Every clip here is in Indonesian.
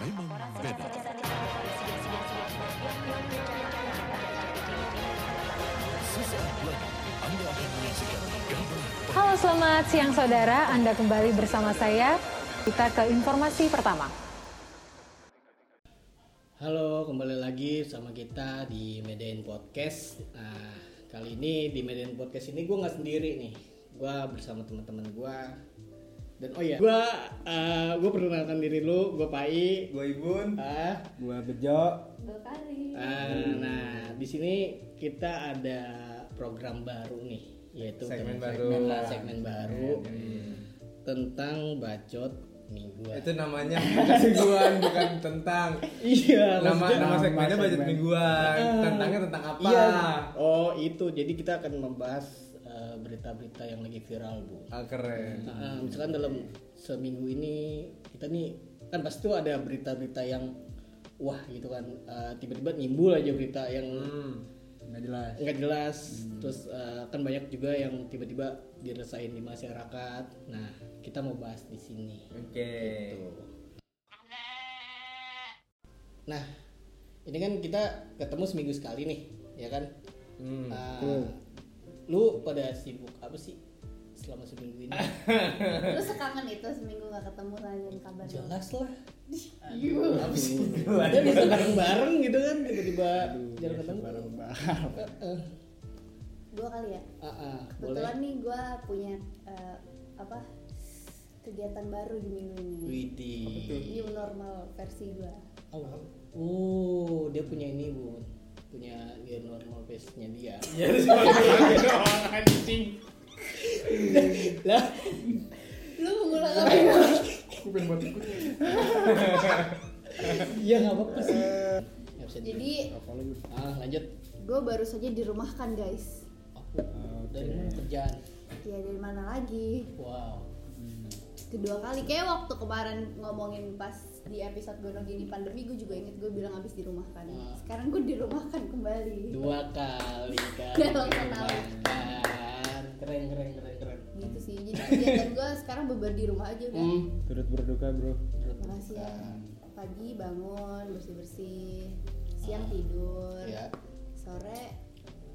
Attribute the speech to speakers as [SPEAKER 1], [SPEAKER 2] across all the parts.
[SPEAKER 1] memang beda. Sesaat lagi Anda akan menyaksikan gambar
[SPEAKER 2] Halo selamat siang saudara, Anda kembali bersama saya. Kita ke informasi pertama.
[SPEAKER 3] Halo, kembali lagi sama kita di Medan Podcast. Nah, kali ini di Medan Podcast ini gue nggak sendiri nih, gue bersama teman-teman gue. Dan oh ya, gue eh, gue perkenalkan diri lu, gue Pai.
[SPEAKER 4] Gue Ibun,
[SPEAKER 3] Ah,
[SPEAKER 4] gue Bejo.
[SPEAKER 3] ah, nah di sini kita ada program baru nih, yaitu
[SPEAKER 4] Segmen
[SPEAKER 3] tentang
[SPEAKER 4] baru. Iya,
[SPEAKER 3] segmen, segmen baru tentang bacot mingguan.
[SPEAKER 4] Itu namanya budget mingguan bukan tentang
[SPEAKER 3] Iya,
[SPEAKER 4] nama
[SPEAKER 3] maksudnya-
[SPEAKER 4] nama segmennya budget mingguan. Tentangnya tentang apa?
[SPEAKER 3] Iya. Oh itu. Jadi kita akan membahas eh, berita-berita yang lagi viral bu.
[SPEAKER 4] Ah, keren.
[SPEAKER 3] Nah, misalkan dalam seminggu ini kita nih kan pasti tuh ada berita-berita yang wah gitu kan eh, tiba-tiba nimbul aja berita yang
[SPEAKER 4] Hmm. Nggak jelas.
[SPEAKER 3] nggak jelas.
[SPEAKER 4] Hmm.
[SPEAKER 3] Terus eh, kan banyak juga yang tiba-tiba diresain di masyarakat. Nah kita mau bahas di sini.
[SPEAKER 4] Oke.
[SPEAKER 3] Gitu. Nah, ini kan kita ketemu seminggu sekali nih, ya kan?
[SPEAKER 4] Hmm.
[SPEAKER 3] Ah, Lu pada sibuk apa sih selama seminggu ini?
[SPEAKER 5] Lu sekangen itu seminggu gak ketemu nanyain kabar lu.
[SPEAKER 3] Jelas lah.
[SPEAKER 5] Iya.
[SPEAKER 3] Apa sih? Kita bisa bareng-bareng gitu kan, tiba-tiba jalan ketemu. Bareng-bareng.
[SPEAKER 5] Dua kali ya.
[SPEAKER 3] Ah, boleh.
[SPEAKER 5] Kebetulan nih gue punya eh, apa kegiatan baru di minggu ini.
[SPEAKER 3] Widi.
[SPEAKER 5] New normal versi gue.
[SPEAKER 3] Oh, oh, dia punya ini bun, punya dia normal face-nya Iya, dia. gitu lah
[SPEAKER 5] Lu mengulang apa ya?
[SPEAKER 4] Aku pengen buat ikut.
[SPEAKER 3] ya nggak apa-apa sih Nggak bisa di-
[SPEAKER 5] Jadi
[SPEAKER 3] ah lanjut
[SPEAKER 5] gue baru saja dirumahkan guys.
[SPEAKER 3] aku dari mana kerjaan
[SPEAKER 5] Ya dari mana lagi?
[SPEAKER 3] wow
[SPEAKER 5] Kedua kali kayak waktu kemarin ngomongin pas di episode gonong gini pandemi gue juga inget gue bilang abis dirumahkan.
[SPEAKER 3] Wah.
[SPEAKER 5] Sekarang gue dirumahkan kembali.
[SPEAKER 3] dua kali kan
[SPEAKER 5] Dalam setahun.
[SPEAKER 3] Kan. keren keren keren keren
[SPEAKER 5] Gitu sih. Jadi kegiatan gue sekarang beber di rumah aja udah.
[SPEAKER 3] hmm.
[SPEAKER 4] Turut berduka bro.
[SPEAKER 5] Makasih ya. Pagi bangun bersih-bersih, siang tidur,
[SPEAKER 3] ya
[SPEAKER 5] sore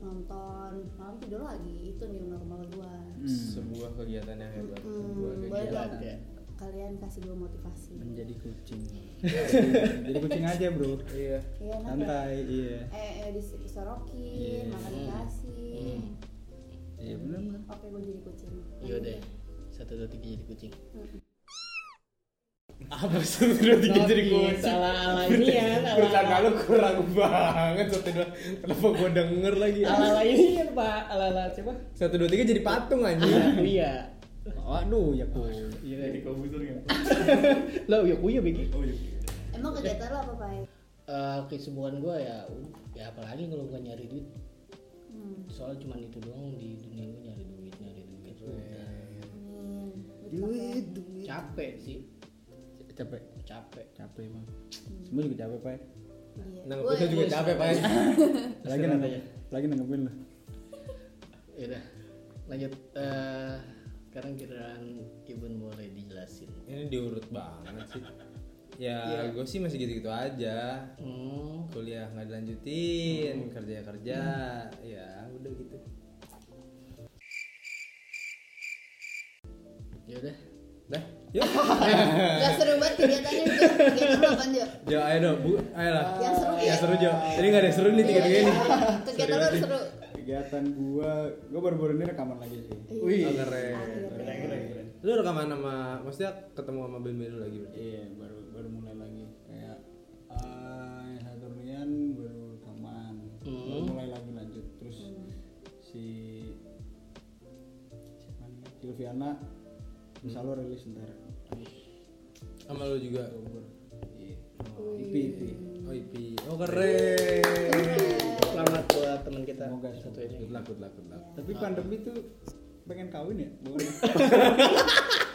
[SPEAKER 5] nonton, malam tidur lagi. Itu new normal gua.
[SPEAKER 4] Hmm. Sebuah kegiatan yang hebat. Sebuah
[SPEAKER 5] Hmm, boleh
[SPEAKER 4] kegiatan.
[SPEAKER 5] dong.
[SPEAKER 3] ya.
[SPEAKER 5] Kalian kasih gua motivasi.
[SPEAKER 6] menjadi kucing jadi kucing aja bro
[SPEAKER 4] Iya.
[SPEAKER 5] Iya, nah,
[SPEAKER 6] santai iya
[SPEAKER 5] Eh, eh dis- disorokin, makan dikasih.
[SPEAKER 6] iya benar benar
[SPEAKER 5] Oke, gua jadi kucing.
[SPEAKER 3] yaudah satu dua tiga jadi kucing
[SPEAKER 5] Mm.
[SPEAKER 4] Apa sih turut
[SPEAKER 3] Notis, salah ala ini ya ala
[SPEAKER 4] Bercanda lu kurang banget satu dua. Kenapa gua denger lagi?
[SPEAKER 3] ala ala ini ya pak ala ala siapa
[SPEAKER 4] Satu dua tiga jadi patung anjing.
[SPEAKER 3] Ah, iya
[SPEAKER 6] waduh ya ku
[SPEAKER 3] iya jadi kau busur kan lo ya kuya begi
[SPEAKER 5] Emang kegiatan lo apa, Pai?
[SPEAKER 3] Eh, kesibukan gue ya ya apalagi kalau bukan nyari duit
[SPEAKER 5] Hmm.
[SPEAKER 3] soalnya cuma itu doang di dunia gue nyari duit nyari duit
[SPEAKER 4] Iya.
[SPEAKER 3] udah.
[SPEAKER 5] Amin.
[SPEAKER 6] duit duit
[SPEAKER 3] capek sih
[SPEAKER 6] capek
[SPEAKER 3] capek
[SPEAKER 6] capek bang semua juga capek pak
[SPEAKER 5] Iya.
[SPEAKER 3] Nah,
[SPEAKER 5] Gua-
[SPEAKER 4] Nanggepin juga capek, Pak.
[SPEAKER 6] lagi
[SPEAKER 3] Istirahat
[SPEAKER 6] nanggep lagi nanggepin lu
[SPEAKER 3] ya udah lanjut Eh, sekarang kiraan Ibun boleh dijelasin
[SPEAKER 4] Ini diurut banget sih. Ya,
[SPEAKER 3] Iya.
[SPEAKER 4] gue sih masih gitu-gitu aja.
[SPEAKER 3] hmm,
[SPEAKER 4] Kuliah nggak dilanjutin, kerja-kerja, ya udah gitu.
[SPEAKER 3] ya udah
[SPEAKER 4] Dah, yuk.
[SPEAKER 5] Gak seru banget kegiatannya, Jo. Kegiatan lo apa, Jo?
[SPEAKER 4] Jo, ayo dong, Bu. Ayolah.
[SPEAKER 5] Yang seru
[SPEAKER 4] Yang
[SPEAKER 5] ya. Iya.
[SPEAKER 4] seru, Jo. Jadi nggak ada yang seru nih tiga-tiga ini.
[SPEAKER 5] Kegiatan lo harus seru.
[SPEAKER 6] kegiatan gua gua baru-baru ini rekaman lagi sih
[SPEAKER 4] Wih, oh, keren.
[SPEAKER 5] Keren,
[SPEAKER 4] Lu rekaman sama, maksudnya ketemu sama band-band lu lagi berarti?
[SPEAKER 6] iya baru baru mulai lagi kayak eh Saturnian baru rekaman baru mulai lagi lanjut terus si siapa nih Silviana bisa lo rilis ntar
[SPEAKER 4] Sama lu juga?
[SPEAKER 6] Iya.
[SPEAKER 5] Wih.
[SPEAKER 6] IP IP
[SPEAKER 4] Oh, IP. Oh,
[SPEAKER 5] Iya.
[SPEAKER 4] keren.
[SPEAKER 3] selamat buat teman kita
[SPEAKER 6] Semoga
[SPEAKER 3] satu
[SPEAKER 6] semoga.
[SPEAKER 3] ini
[SPEAKER 4] Good luck, good luck, good luck.
[SPEAKER 6] tapi pandemi tuh pengen kawin ya Bang?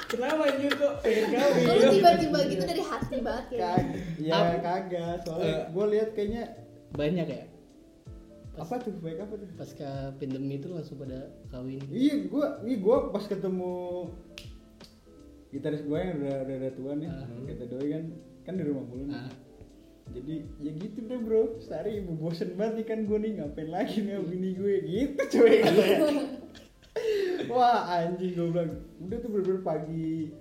[SPEAKER 3] kenapa ini kok pengen
[SPEAKER 5] Kok lu tiba-tiba gitu dari hati banget kayak
[SPEAKER 6] Kag- ya kagak
[SPEAKER 4] Eh.
[SPEAKER 6] soalnya gue lihat kayaknya
[SPEAKER 3] banyak ya
[SPEAKER 6] apa tuh baik apa tuh
[SPEAKER 3] pasca pandemi itu langsung pada kawin
[SPEAKER 6] iya gue iya gue pas ketemu gitaris gue yang udah udah, udah tua nih kita doi kan kan di rumah mulu nih
[SPEAKER 3] Ah.
[SPEAKER 6] jadi ya gitu deh bro sehari ibu bosen banget nih kan gue nih ngapain lagi nih sama bini gue gitu cuy wah anjing gue bilang udah tuh bener-bener pagi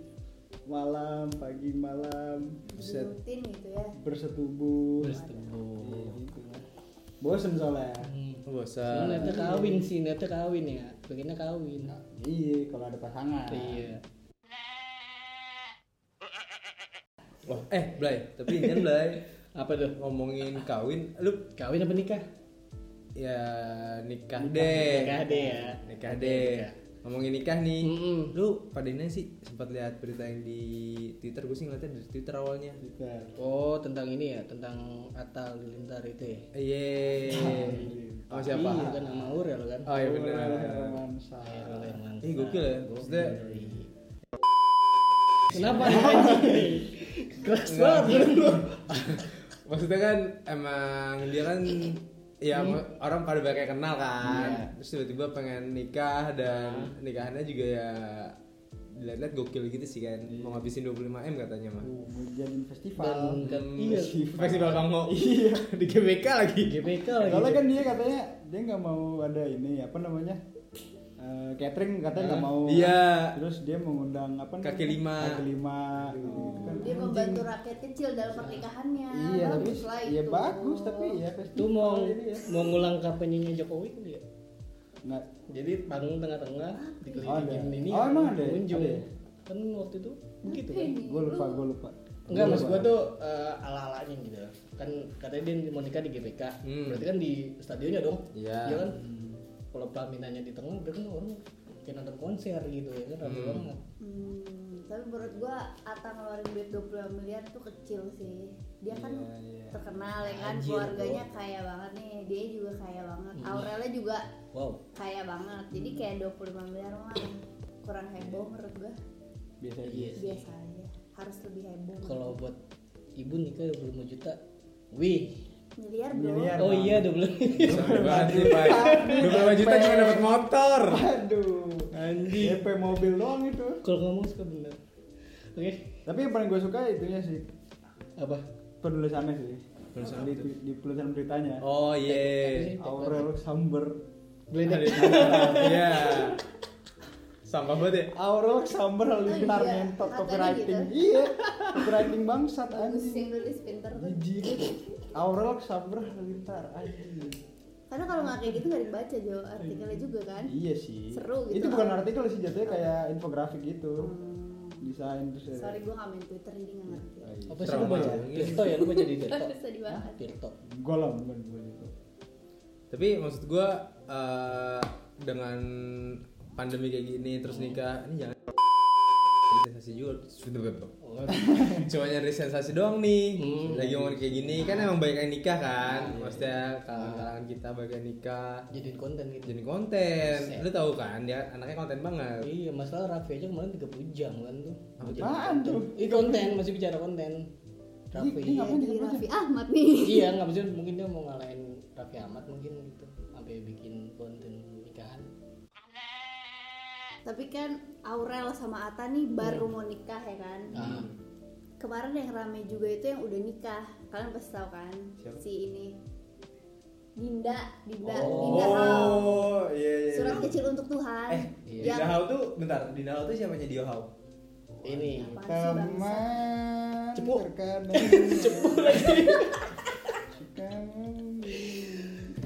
[SPEAKER 6] malam pagi malam set
[SPEAKER 5] rutin gitu ya
[SPEAKER 6] bersetubuh Iya,
[SPEAKER 3] Bersetubuh. Hmm.
[SPEAKER 6] gitu. bosen soalnya
[SPEAKER 4] Iya.
[SPEAKER 3] Soalnya
[SPEAKER 4] bosan
[SPEAKER 3] Nete kawin sih, Nete kawin ya. Pengennya kawin.
[SPEAKER 6] iya kalau ada pasangan
[SPEAKER 3] Iya.
[SPEAKER 4] Wah, eh Blay, tapi ini Blay
[SPEAKER 3] Apa tuh?
[SPEAKER 4] ngomongin kawin, lu
[SPEAKER 3] Kawin apa nikah?
[SPEAKER 4] ya nikah deh.
[SPEAKER 3] Nikah deh ya.
[SPEAKER 4] Nikah deh. Ngomongin nikah nih.
[SPEAKER 3] Mm-mm.
[SPEAKER 4] Lu pada ini sih sempat lihat berita yang di Twitter gue sih ngeliatnya dari Twitter awalnya.
[SPEAKER 6] Bentar.
[SPEAKER 3] Oh, tentang ini ya, tentang Atal Lintar itu ya.
[SPEAKER 4] Iya. Sama siapa?
[SPEAKER 3] Iya kan sama Aurel kan.
[SPEAKER 4] Oh iya bener.
[SPEAKER 6] Romansa.
[SPEAKER 3] Aurel yang mantap.
[SPEAKER 4] Eh gokil ya. Maksudnya
[SPEAKER 3] Kenapa anjing? Keras banget belum lu.
[SPEAKER 4] maksudnya kan emang dia kan ya
[SPEAKER 3] Hmm.
[SPEAKER 4] ma- orang pada banyak yang kenal kan
[SPEAKER 3] Iya.
[SPEAKER 4] terus tiba-tiba pengen nikah dan
[SPEAKER 3] Hmm.
[SPEAKER 4] nikahannya juga ya dilihat-lihat gokil gitu sih kan
[SPEAKER 3] Hmm.
[SPEAKER 4] mau ngabisin 25 m katanya mah
[SPEAKER 6] Tuh, mau jadiin festival
[SPEAKER 3] Dan dan
[SPEAKER 4] Hmm,
[SPEAKER 3] iya.
[SPEAKER 4] festival Bangko iya di GBK lagi
[SPEAKER 3] GBK
[SPEAKER 6] Soalnya
[SPEAKER 3] lagi.
[SPEAKER 6] kan dia katanya dia nggak mau ada ini apa namanya eh, catering katanya nggak mau.
[SPEAKER 4] Iya.
[SPEAKER 6] Terus dia mengundang apa? namanya?
[SPEAKER 4] Kaki lima.
[SPEAKER 6] Kaki lima. gitu-gitu kan.
[SPEAKER 5] dia membantu rakyat kecil dalam pernikahannya
[SPEAKER 6] Iya tapi
[SPEAKER 5] bagus lah itu
[SPEAKER 6] ya bagus tapi ya festival
[SPEAKER 3] Itu mau
[SPEAKER 6] ini ya.
[SPEAKER 3] mau ngulang kampanyenya Jokowi kan dia.
[SPEAKER 6] Nggak.
[SPEAKER 3] Jadi panggung tengah-tengah dikelilingin
[SPEAKER 6] Ada.
[SPEAKER 3] ini.
[SPEAKER 6] Oh, emang ada ya?
[SPEAKER 3] Pengunjung.
[SPEAKER 6] Ada ya?
[SPEAKER 3] Kan waktu itu begitu kan.
[SPEAKER 6] Gue lupa gue lupa.
[SPEAKER 3] Enggak,
[SPEAKER 6] Gua
[SPEAKER 3] mas
[SPEAKER 6] lupa.
[SPEAKER 3] gua tuh eh, ala-alanya gitu. Kan katanya dia mau nikah di GBK.
[SPEAKER 4] Hmm.
[SPEAKER 3] Berarti kan di stadionnya dong.
[SPEAKER 4] Iya.
[SPEAKER 3] kan. Kalau pelaminannya di tengah, berarti kan orang kayak nonton konser gitu ya kan rame banget.
[SPEAKER 5] Hmm, tapi menurut gua Atta ngeluarin duit 25 miliar tuh kecil sih dia kan
[SPEAKER 6] Iya,
[SPEAKER 5] terkenal ya kan
[SPEAKER 3] Anjir,
[SPEAKER 5] keluarganya kaya banget nih dia juga kaya banget
[SPEAKER 6] Iya.
[SPEAKER 5] Aurelnya juga
[SPEAKER 3] Wow.
[SPEAKER 5] kaya banget jadi kayak 25 miliar mah kurang heboh menurut gua
[SPEAKER 6] Biasa aja.
[SPEAKER 3] Iya. sih.
[SPEAKER 5] biasa aja harus lebih heboh
[SPEAKER 3] Kalau buat ibu nikah 25 juta. Wih.
[SPEAKER 5] miliar bro
[SPEAKER 6] Miliar.
[SPEAKER 3] Oh
[SPEAKER 6] Bang.
[SPEAKER 3] iya 25.
[SPEAKER 4] Sorry banget sih Pak 25 juta cuma dapat motor
[SPEAKER 6] Aduh.
[SPEAKER 3] Anjing.
[SPEAKER 6] DP mobil doang itu.
[SPEAKER 3] Kalau ngomong suka bener. Oke.
[SPEAKER 6] Tapi yang paling gue suka itunya sih
[SPEAKER 3] Apa?
[SPEAKER 6] penulisannya sih.
[SPEAKER 4] Penulisan
[SPEAKER 6] di, di, di penulisan beritanya.
[SPEAKER 4] oh iya
[SPEAKER 6] Aurel Samber
[SPEAKER 3] Gledek.
[SPEAKER 4] iya sampah banget ya
[SPEAKER 6] Aurel Samber Halilintar
[SPEAKER 5] Oh, iya.
[SPEAKER 6] ngentot
[SPEAKER 5] Katanya
[SPEAKER 6] copywriting
[SPEAKER 5] gitu.
[SPEAKER 6] iya copywriting bangsat
[SPEAKER 5] bagus yang
[SPEAKER 6] anjing
[SPEAKER 5] nulis pinter tuh
[SPEAKER 6] jijik Aurel Samber Halilintar anjing
[SPEAKER 5] karena kalau nggak kayak gitu nggak dibaca Jo artikelnya juga kan
[SPEAKER 6] iya sih
[SPEAKER 5] Seru gitu.
[SPEAKER 6] itu bukan artikel sih jatuhnya kayak infografik gitu
[SPEAKER 5] Hmm,
[SPEAKER 6] desain terus Iya. ada-
[SPEAKER 5] sorry gua nggak main Twitter jadi nggak ngerti
[SPEAKER 3] Apa sih lu baca? Tirto ya, lu baca di Tirto.
[SPEAKER 5] Sedih banget.
[SPEAKER 3] Tirto.
[SPEAKER 6] gue lah bukan gue gitu
[SPEAKER 4] tapi maksud gue dengan pandemi kayak gini terus
[SPEAKER 3] Hmm.
[SPEAKER 4] nikah ini jangan sensasi juga
[SPEAKER 3] Oh,
[SPEAKER 4] cuma nyari sensasi doang nih
[SPEAKER 3] Hmm. Iya.
[SPEAKER 4] lagi ngomong kayak gini kan emang banyak yang nikah kan maksudnya kalangan-kalangan
[SPEAKER 3] Hmm.
[SPEAKER 4] kita banyak yang nikah
[SPEAKER 3] Jadiin konten gitu.
[SPEAKER 4] jadi konten lu tahu kan dia anaknya konten banget
[SPEAKER 3] Iya, masalah Raffi aja kemarin 30 jam kan tuh. Mau jadi
[SPEAKER 6] Apaan
[SPEAKER 3] konten.
[SPEAKER 6] tuh?
[SPEAKER 3] Ih konten, masih bicara konten. Raffi.
[SPEAKER 6] Ini ngapain
[SPEAKER 5] Iya, jadi
[SPEAKER 6] dia baca?
[SPEAKER 5] Raffi Ahmad nih
[SPEAKER 3] iya, nggak maksudnya mungkin dia mau ngalahin Raffi Ahmad mungkin gitu. Sampai bikin konten nikahan.
[SPEAKER 5] tapi kan Aurel sama Ata nih baru mau nikah ya kan
[SPEAKER 3] Ah,
[SPEAKER 5] kemarin yang rame juga itu yang udah nikah kalian pasti tahu kan
[SPEAKER 4] Siapa?
[SPEAKER 5] si ini Dinda Dinda Dinda Hao
[SPEAKER 4] oh iya iya
[SPEAKER 5] surat kecil untuk Tuhan
[SPEAKER 4] eh
[SPEAKER 5] yang
[SPEAKER 3] Iya.
[SPEAKER 4] Dinda Hao tuh bentar Dinda Hao tuh siapanya Dio Hao
[SPEAKER 3] ini
[SPEAKER 5] Apaan sih, bangsa?
[SPEAKER 6] teman
[SPEAKER 3] Cepu.
[SPEAKER 6] terkadang
[SPEAKER 3] cepu lagi.
[SPEAKER 6] kangen.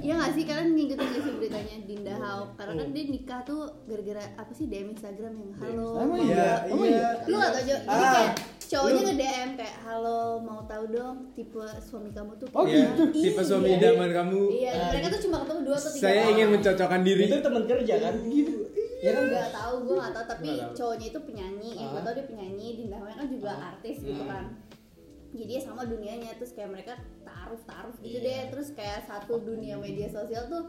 [SPEAKER 5] Iya gak sih kalian ngikutin gak sih beritanya Dinda Hao karena kan dia nikah tuh gara-gara apa sih DM Instagram yang halo
[SPEAKER 6] Emang
[SPEAKER 5] mau-
[SPEAKER 6] iya? Emang iya?
[SPEAKER 5] lu gak tau Jo jadi
[SPEAKER 4] Ah,
[SPEAKER 5] kayak cowoknya
[SPEAKER 4] lu-
[SPEAKER 5] nge DM kayak halo mau tahu dong tipe suami kamu tuh
[SPEAKER 6] Oh,
[SPEAKER 4] Iya,
[SPEAKER 5] kayak
[SPEAKER 6] gitu?
[SPEAKER 5] gimana?"
[SPEAKER 4] tipe
[SPEAKER 5] Iya.
[SPEAKER 4] suami idaman kamu
[SPEAKER 5] iya mereka tuh cuma ketemu dua atau tiga
[SPEAKER 4] saya
[SPEAKER 5] orang.
[SPEAKER 4] ingin mencocokkan diri
[SPEAKER 3] Itu teman kerja kan?
[SPEAKER 6] Gitu.
[SPEAKER 3] Ya kan?
[SPEAKER 5] nggak tahu gue nggak tahu tapi
[SPEAKER 4] Nggak tahu. Ah.
[SPEAKER 5] cowoknya itu penyanyi yang gue tahu dia penyanyi Dinda Hao kan juga artis gitu
[SPEAKER 4] Hmm.
[SPEAKER 5] kan jadi ya sama dunianya terus kayak mereka taruh taruh gitu
[SPEAKER 4] Iya.
[SPEAKER 5] deh terus kayak satu dunia media sosial tuh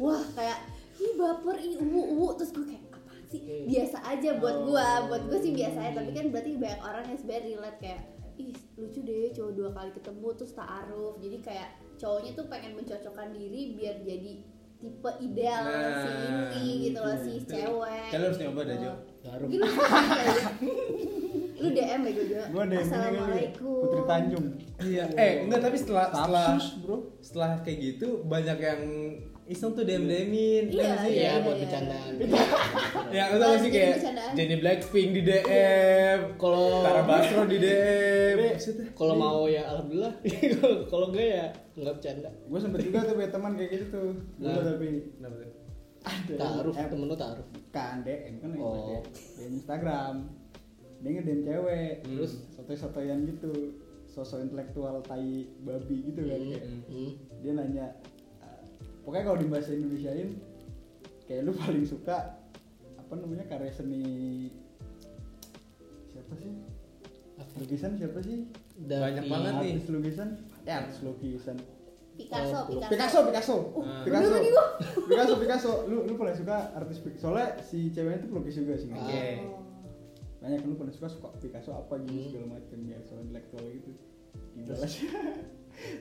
[SPEAKER 5] wah kayak ih baper ih uwu uwu terus gue kayak apaan sih
[SPEAKER 4] Iya.
[SPEAKER 5] biasa aja buat gue
[SPEAKER 4] Oh.
[SPEAKER 5] buat gue sih biasa aja tapi kan berarti banyak orang yang sebenarnya relate kayak ih lucu deh cowok dua kali ketemu terus taaruf jadi kayak cowoknya tuh pengen mencocokkan diri biar jadi tipe ideal
[SPEAKER 4] Nah,
[SPEAKER 5] si inti gitu loh si
[SPEAKER 4] gitu.
[SPEAKER 5] cewek
[SPEAKER 4] Kalian harus nyoba dah, Jo.
[SPEAKER 5] gitu.
[SPEAKER 3] Taruh.
[SPEAKER 5] Mungkin lu harus nyoba ya. lu DM ya gue juga
[SPEAKER 6] Gua DM -nya kali ya,
[SPEAKER 5] assalamualaikum
[SPEAKER 6] Putri Tanjung.
[SPEAKER 4] Iya, eh enggak tapi setelah setelah
[SPEAKER 6] Stafsus, bro.
[SPEAKER 4] setelah kayak gitu banyak yang iseng tuh dem demin
[SPEAKER 5] Iya,
[SPEAKER 3] Iya,
[SPEAKER 5] iya,
[SPEAKER 3] buat
[SPEAKER 5] iya.
[SPEAKER 3] bercandaan.
[SPEAKER 4] ya lu tau gak sih
[SPEAKER 5] Jadi
[SPEAKER 4] kayak
[SPEAKER 5] bercandaan.
[SPEAKER 4] Jenny Blackpink di DM
[SPEAKER 3] Kalau-
[SPEAKER 4] Tara Basro di
[SPEAKER 6] Eh,
[SPEAKER 4] DM
[SPEAKER 3] Tapi
[SPEAKER 4] Maksudnya,
[SPEAKER 3] kalau mau ya alhamdulillah. Kalau- Kalau enggak ya enggak bercanda.
[SPEAKER 6] Gue sempet juga tuh punya teman kayak gitu tuh. Gua
[SPEAKER 3] Nah.
[SPEAKER 6] tapi
[SPEAKER 4] kenapa tuh?
[SPEAKER 6] ada
[SPEAKER 3] Taruh,
[SPEAKER 6] eh,
[SPEAKER 3] temen lu taruh.
[SPEAKER 6] kan DM kan
[SPEAKER 3] Oh.
[SPEAKER 6] oh. DM Instagram. Dia nge-DM cewek.
[SPEAKER 3] Hmm.
[SPEAKER 4] Terus?
[SPEAKER 6] satu-satuan gitu. Sosok intelektual tai babi gitu kan kayak.
[SPEAKER 3] Hmm.
[SPEAKER 6] Dia nanya eh, pokoknya kalau di bahasa Indonesiain kayak lu paling suka apa namanya karya seni siapa sih? Lukisan siapa sih?
[SPEAKER 4] Banyak banget nih.
[SPEAKER 6] Artis lukisan? Ya, artis lukisan.
[SPEAKER 5] Picasso Picasso
[SPEAKER 6] Oh, Picasso, Picasso.
[SPEAKER 5] Uh,
[SPEAKER 6] Picasso.
[SPEAKER 5] bener tadi gua.
[SPEAKER 6] Picasso, Picasso. Lu lu paling suka artis Picasso. Soalnya si ceweknya tuh pelukis juga sih.
[SPEAKER 3] Oke.
[SPEAKER 6] Banyak kan lu paling suka suka Picasso apa gitu
[SPEAKER 3] Hmm.
[SPEAKER 6] segala macam ya soal intelektual gitu. Dibalas.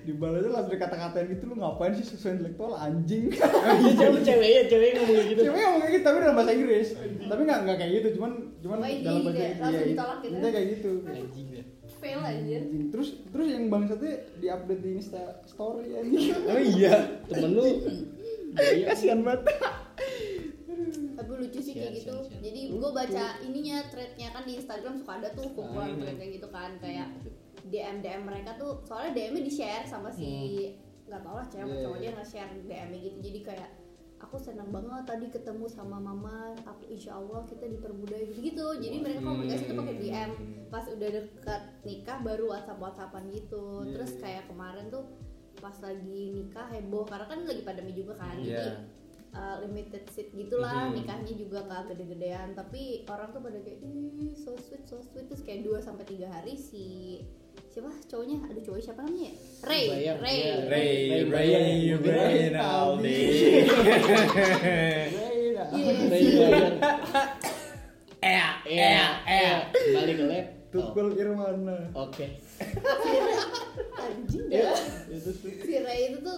[SPEAKER 6] Dibalasnya langsung dikata-katain gitu lu ngapain sih sesuai intelektual anjing.
[SPEAKER 3] Iya, cewek cewek ya, cewek ngomong kayak gitu.
[SPEAKER 6] Cewek ngomong kayak gitu tapi dalam bahasa Inggris. tapi enggak enggak kayak gitu, cuman cuman
[SPEAKER 5] Oh, ini
[SPEAKER 6] dalam bahasa
[SPEAKER 5] kayak
[SPEAKER 6] Inggris.
[SPEAKER 5] langsung
[SPEAKER 6] Iya,
[SPEAKER 5] ditolak gitu.
[SPEAKER 6] intinya kayak gitu.
[SPEAKER 3] Anjing ya.
[SPEAKER 5] fail aja
[SPEAKER 6] Anjing. Terus terus yang bangsatnya diupdate di Insta story anjing.
[SPEAKER 3] Oh iya, temen lu. Iya.
[SPEAKER 6] Kasihan banget.
[SPEAKER 5] tapi lucu sih kayak
[SPEAKER 3] Iya, Sian,
[SPEAKER 5] gitu
[SPEAKER 3] sian, sian.
[SPEAKER 5] jadi gue baca ininya threadnya kan di Instagram suka ada
[SPEAKER 3] Ah,
[SPEAKER 5] tuh kumpulan
[SPEAKER 3] iya.
[SPEAKER 5] thread kayak gitu kan kayak DM DM mereka tuh soalnya DM nya di share sama si
[SPEAKER 3] Hmm.
[SPEAKER 5] nggak tau lah cewek
[SPEAKER 6] Iya,
[SPEAKER 5] cowok
[SPEAKER 6] iya.
[SPEAKER 5] dia nge share DM nya gitu jadi kayak aku senang banget tadi ketemu sama mama aku insya Allah kita dipermudah gitu gitu jadi mereka
[SPEAKER 3] Hmm.
[SPEAKER 5] komunikasi tuh pakai DM pas udah dekat nikah baru WhatsApp WhatsAppan
[SPEAKER 6] Iya,
[SPEAKER 5] gitu terus kayak kemarin tuh pas lagi nikah heboh karena kan lagi pandemi juga kan jadi
[SPEAKER 4] Iya.
[SPEAKER 5] uh, limited seat gitulah
[SPEAKER 4] Mhm.
[SPEAKER 5] nikahnya juga nggak gede-gedean tapi orang tuh pada kayak ih so sweet so sweet terus kayak 2 sampai tiga hari si siapa cowoknya aduh cowok siapa namanya ya? Ray
[SPEAKER 3] Bayang,
[SPEAKER 5] Ray
[SPEAKER 3] iya.
[SPEAKER 4] Ray, ya,
[SPEAKER 3] Ray,
[SPEAKER 4] Ray,
[SPEAKER 3] Ray,
[SPEAKER 4] Ray,
[SPEAKER 6] Ray,
[SPEAKER 4] Naldi.
[SPEAKER 5] Iya.
[SPEAKER 3] Ray bayar. Eh, eh, eh. Balik ke lab.
[SPEAKER 6] Tukul Irwana.
[SPEAKER 3] Oke.
[SPEAKER 5] anjing
[SPEAKER 3] Iya.
[SPEAKER 5] dah
[SPEAKER 6] Itu sih.
[SPEAKER 5] si Ray itu tuh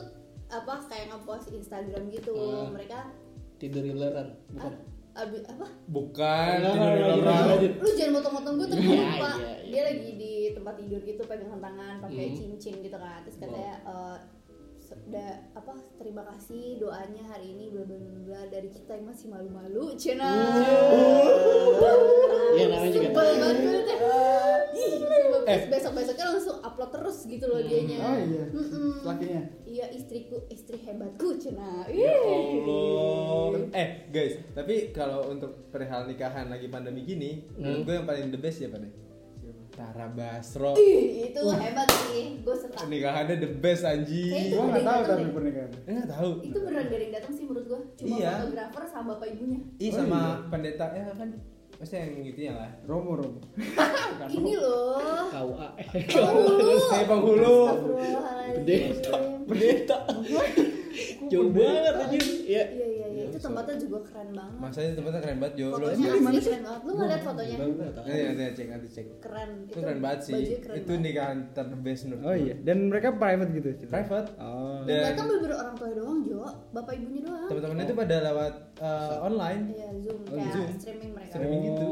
[SPEAKER 5] apa kayak ngepost Instagram gitu
[SPEAKER 3] Hmm.
[SPEAKER 5] mereka
[SPEAKER 3] Tidur ileran.
[SPEAKER 5] ah,
[SPEAKER 3] Bukan.
[SPEAKER 5] abi, apa
[SPEAKER 4] bukan Ya
[SPEAKER 3] Nggak,
[SPEAKER 4] tidur
[SPEAKER 3] nggak,
[SPEAKER 4] orang.
[SPEAKER 3] lanjut, lanjut.
[SPEAKER 5] lu jangan motong-motong gue terus
[SPEAKER 3] Iya,
[SPEAKER 5] gue lupa
[SPEAKER 3] iya, iya.
[SPEAKER 5] dia lagi di tempat tidur gitu pegangan tangan pakai
[SPEAKER 3] Hmm.
[SPEAKER 5] cincin gitu kan terus katanya eh, se- da- apa terima kasih doanya hari ini bla bla bla, bla dari kita yang masih malu-malu cina
[SPEAKER 3] Iya, namanya juga.
[SPEAKER 5] sebel banget gue kayak, "Ih, sebel." Terus besok-besoknya langsung upload terus gitu
[SPEAKER 3] Hmm.
[SPEAKER 5] loh dianya
[SPEAKER 6] Oh iya.
[SPEAKER 5] Mm-mm.
[SPEAKER 6] Lakinya.
[SPEAKER 5] iya istriku istri hebatku cina
[SPEAKER 4] Ya Allah. Eh guys, tapi kalau untuk perihal nikahan lagi pandemi gini, menurut gue yang paling the best Hmm. siapa nih? Tara Basro.
[SPEAKER 5] Ih, itu hebat sih gue suka
[SPEAKER 4] Pernikahannya the best anjing.
[SPEAKER 5] Kayaknya-
[SPEAKER 6] Gua nggak tahu tapi
[SPEAKER 5] Iya.
[SPEAKER 6] pernikahan.
[SPEAKER 4] Eh, Nggak tahu.
[SPEAKER 5] itu beneran gak ada yang datang sih menurut gue cuma
[SPEAKER 4] Iya.
[SPEAKER 5] fotografer sama bapak
[SPEAKER 4] Ih
[SPEAKER 5] ibunya
[SPEAKER 6] Oh,
[SPEAKER 5] iya.
[SPEAKER 4] sama pendeta ya kan Maksudnya yang gitu ya lah
[SPEAKER 6] Romo Romo.
[SPEAKER 4] Iya, kan?
[SPEAKER 5] ini loh
[SPEAKER 3] KUA.
[SPEAKER 5] penghulu
[SPEAKER 4] Saya penghulu
[SPEAKER 3] Pendeta.
[SPEAKER 5] Astagfirullahaladzim. Iya,
[SPEAKER 3] Pendeta. Jauh banget anjir. Iya.
[SPEAKER 5] iya iya iya itu tempatnya juga keren banget
[SPEAKER 4] Masanya tempatnya keren banget Jo Lu
[SPEAKER 5] fotonya asli keren banget lu ngeliat fotonya
[SPEAKER 4] Nanti nanti ya, cek nanti cek
[SPEAKER 5] keren
[SPEAKER 4] Itu keren banget sih
[SPEAKER 5] bajunya keren
[SPEAKER 4] Itu
[SPEAKER 5] banget.
[SPEAKER 4] nikahan ter the best menurut
[SPEAKER 6] Oh
[SPEAKER 4] gue.
[SPEAKER 6] iya. Dan mereka private gitu.
[SPEAKER 4] Private
[SPEAKER 6] Oh.
[SPEAKER 5] Yang
[SPEAKER 4] Dan
[SPEAKER 5] datang bener orang tua doang Jo bapak ibunya doang
[SPEAKER 4] teman-temannya itu pada lewat eh, online
[SPEAKER 5] iya zoom
[SPEAKER 4] Oh,
[SPEAKER 5] kayak
[SPEAKER 4] Zoom.
[SPEAKER 5] streaming mereka
[SPEAKER 4] Streaming
[SPEAKER 6] Oh.
[SPEAKER 4] gitu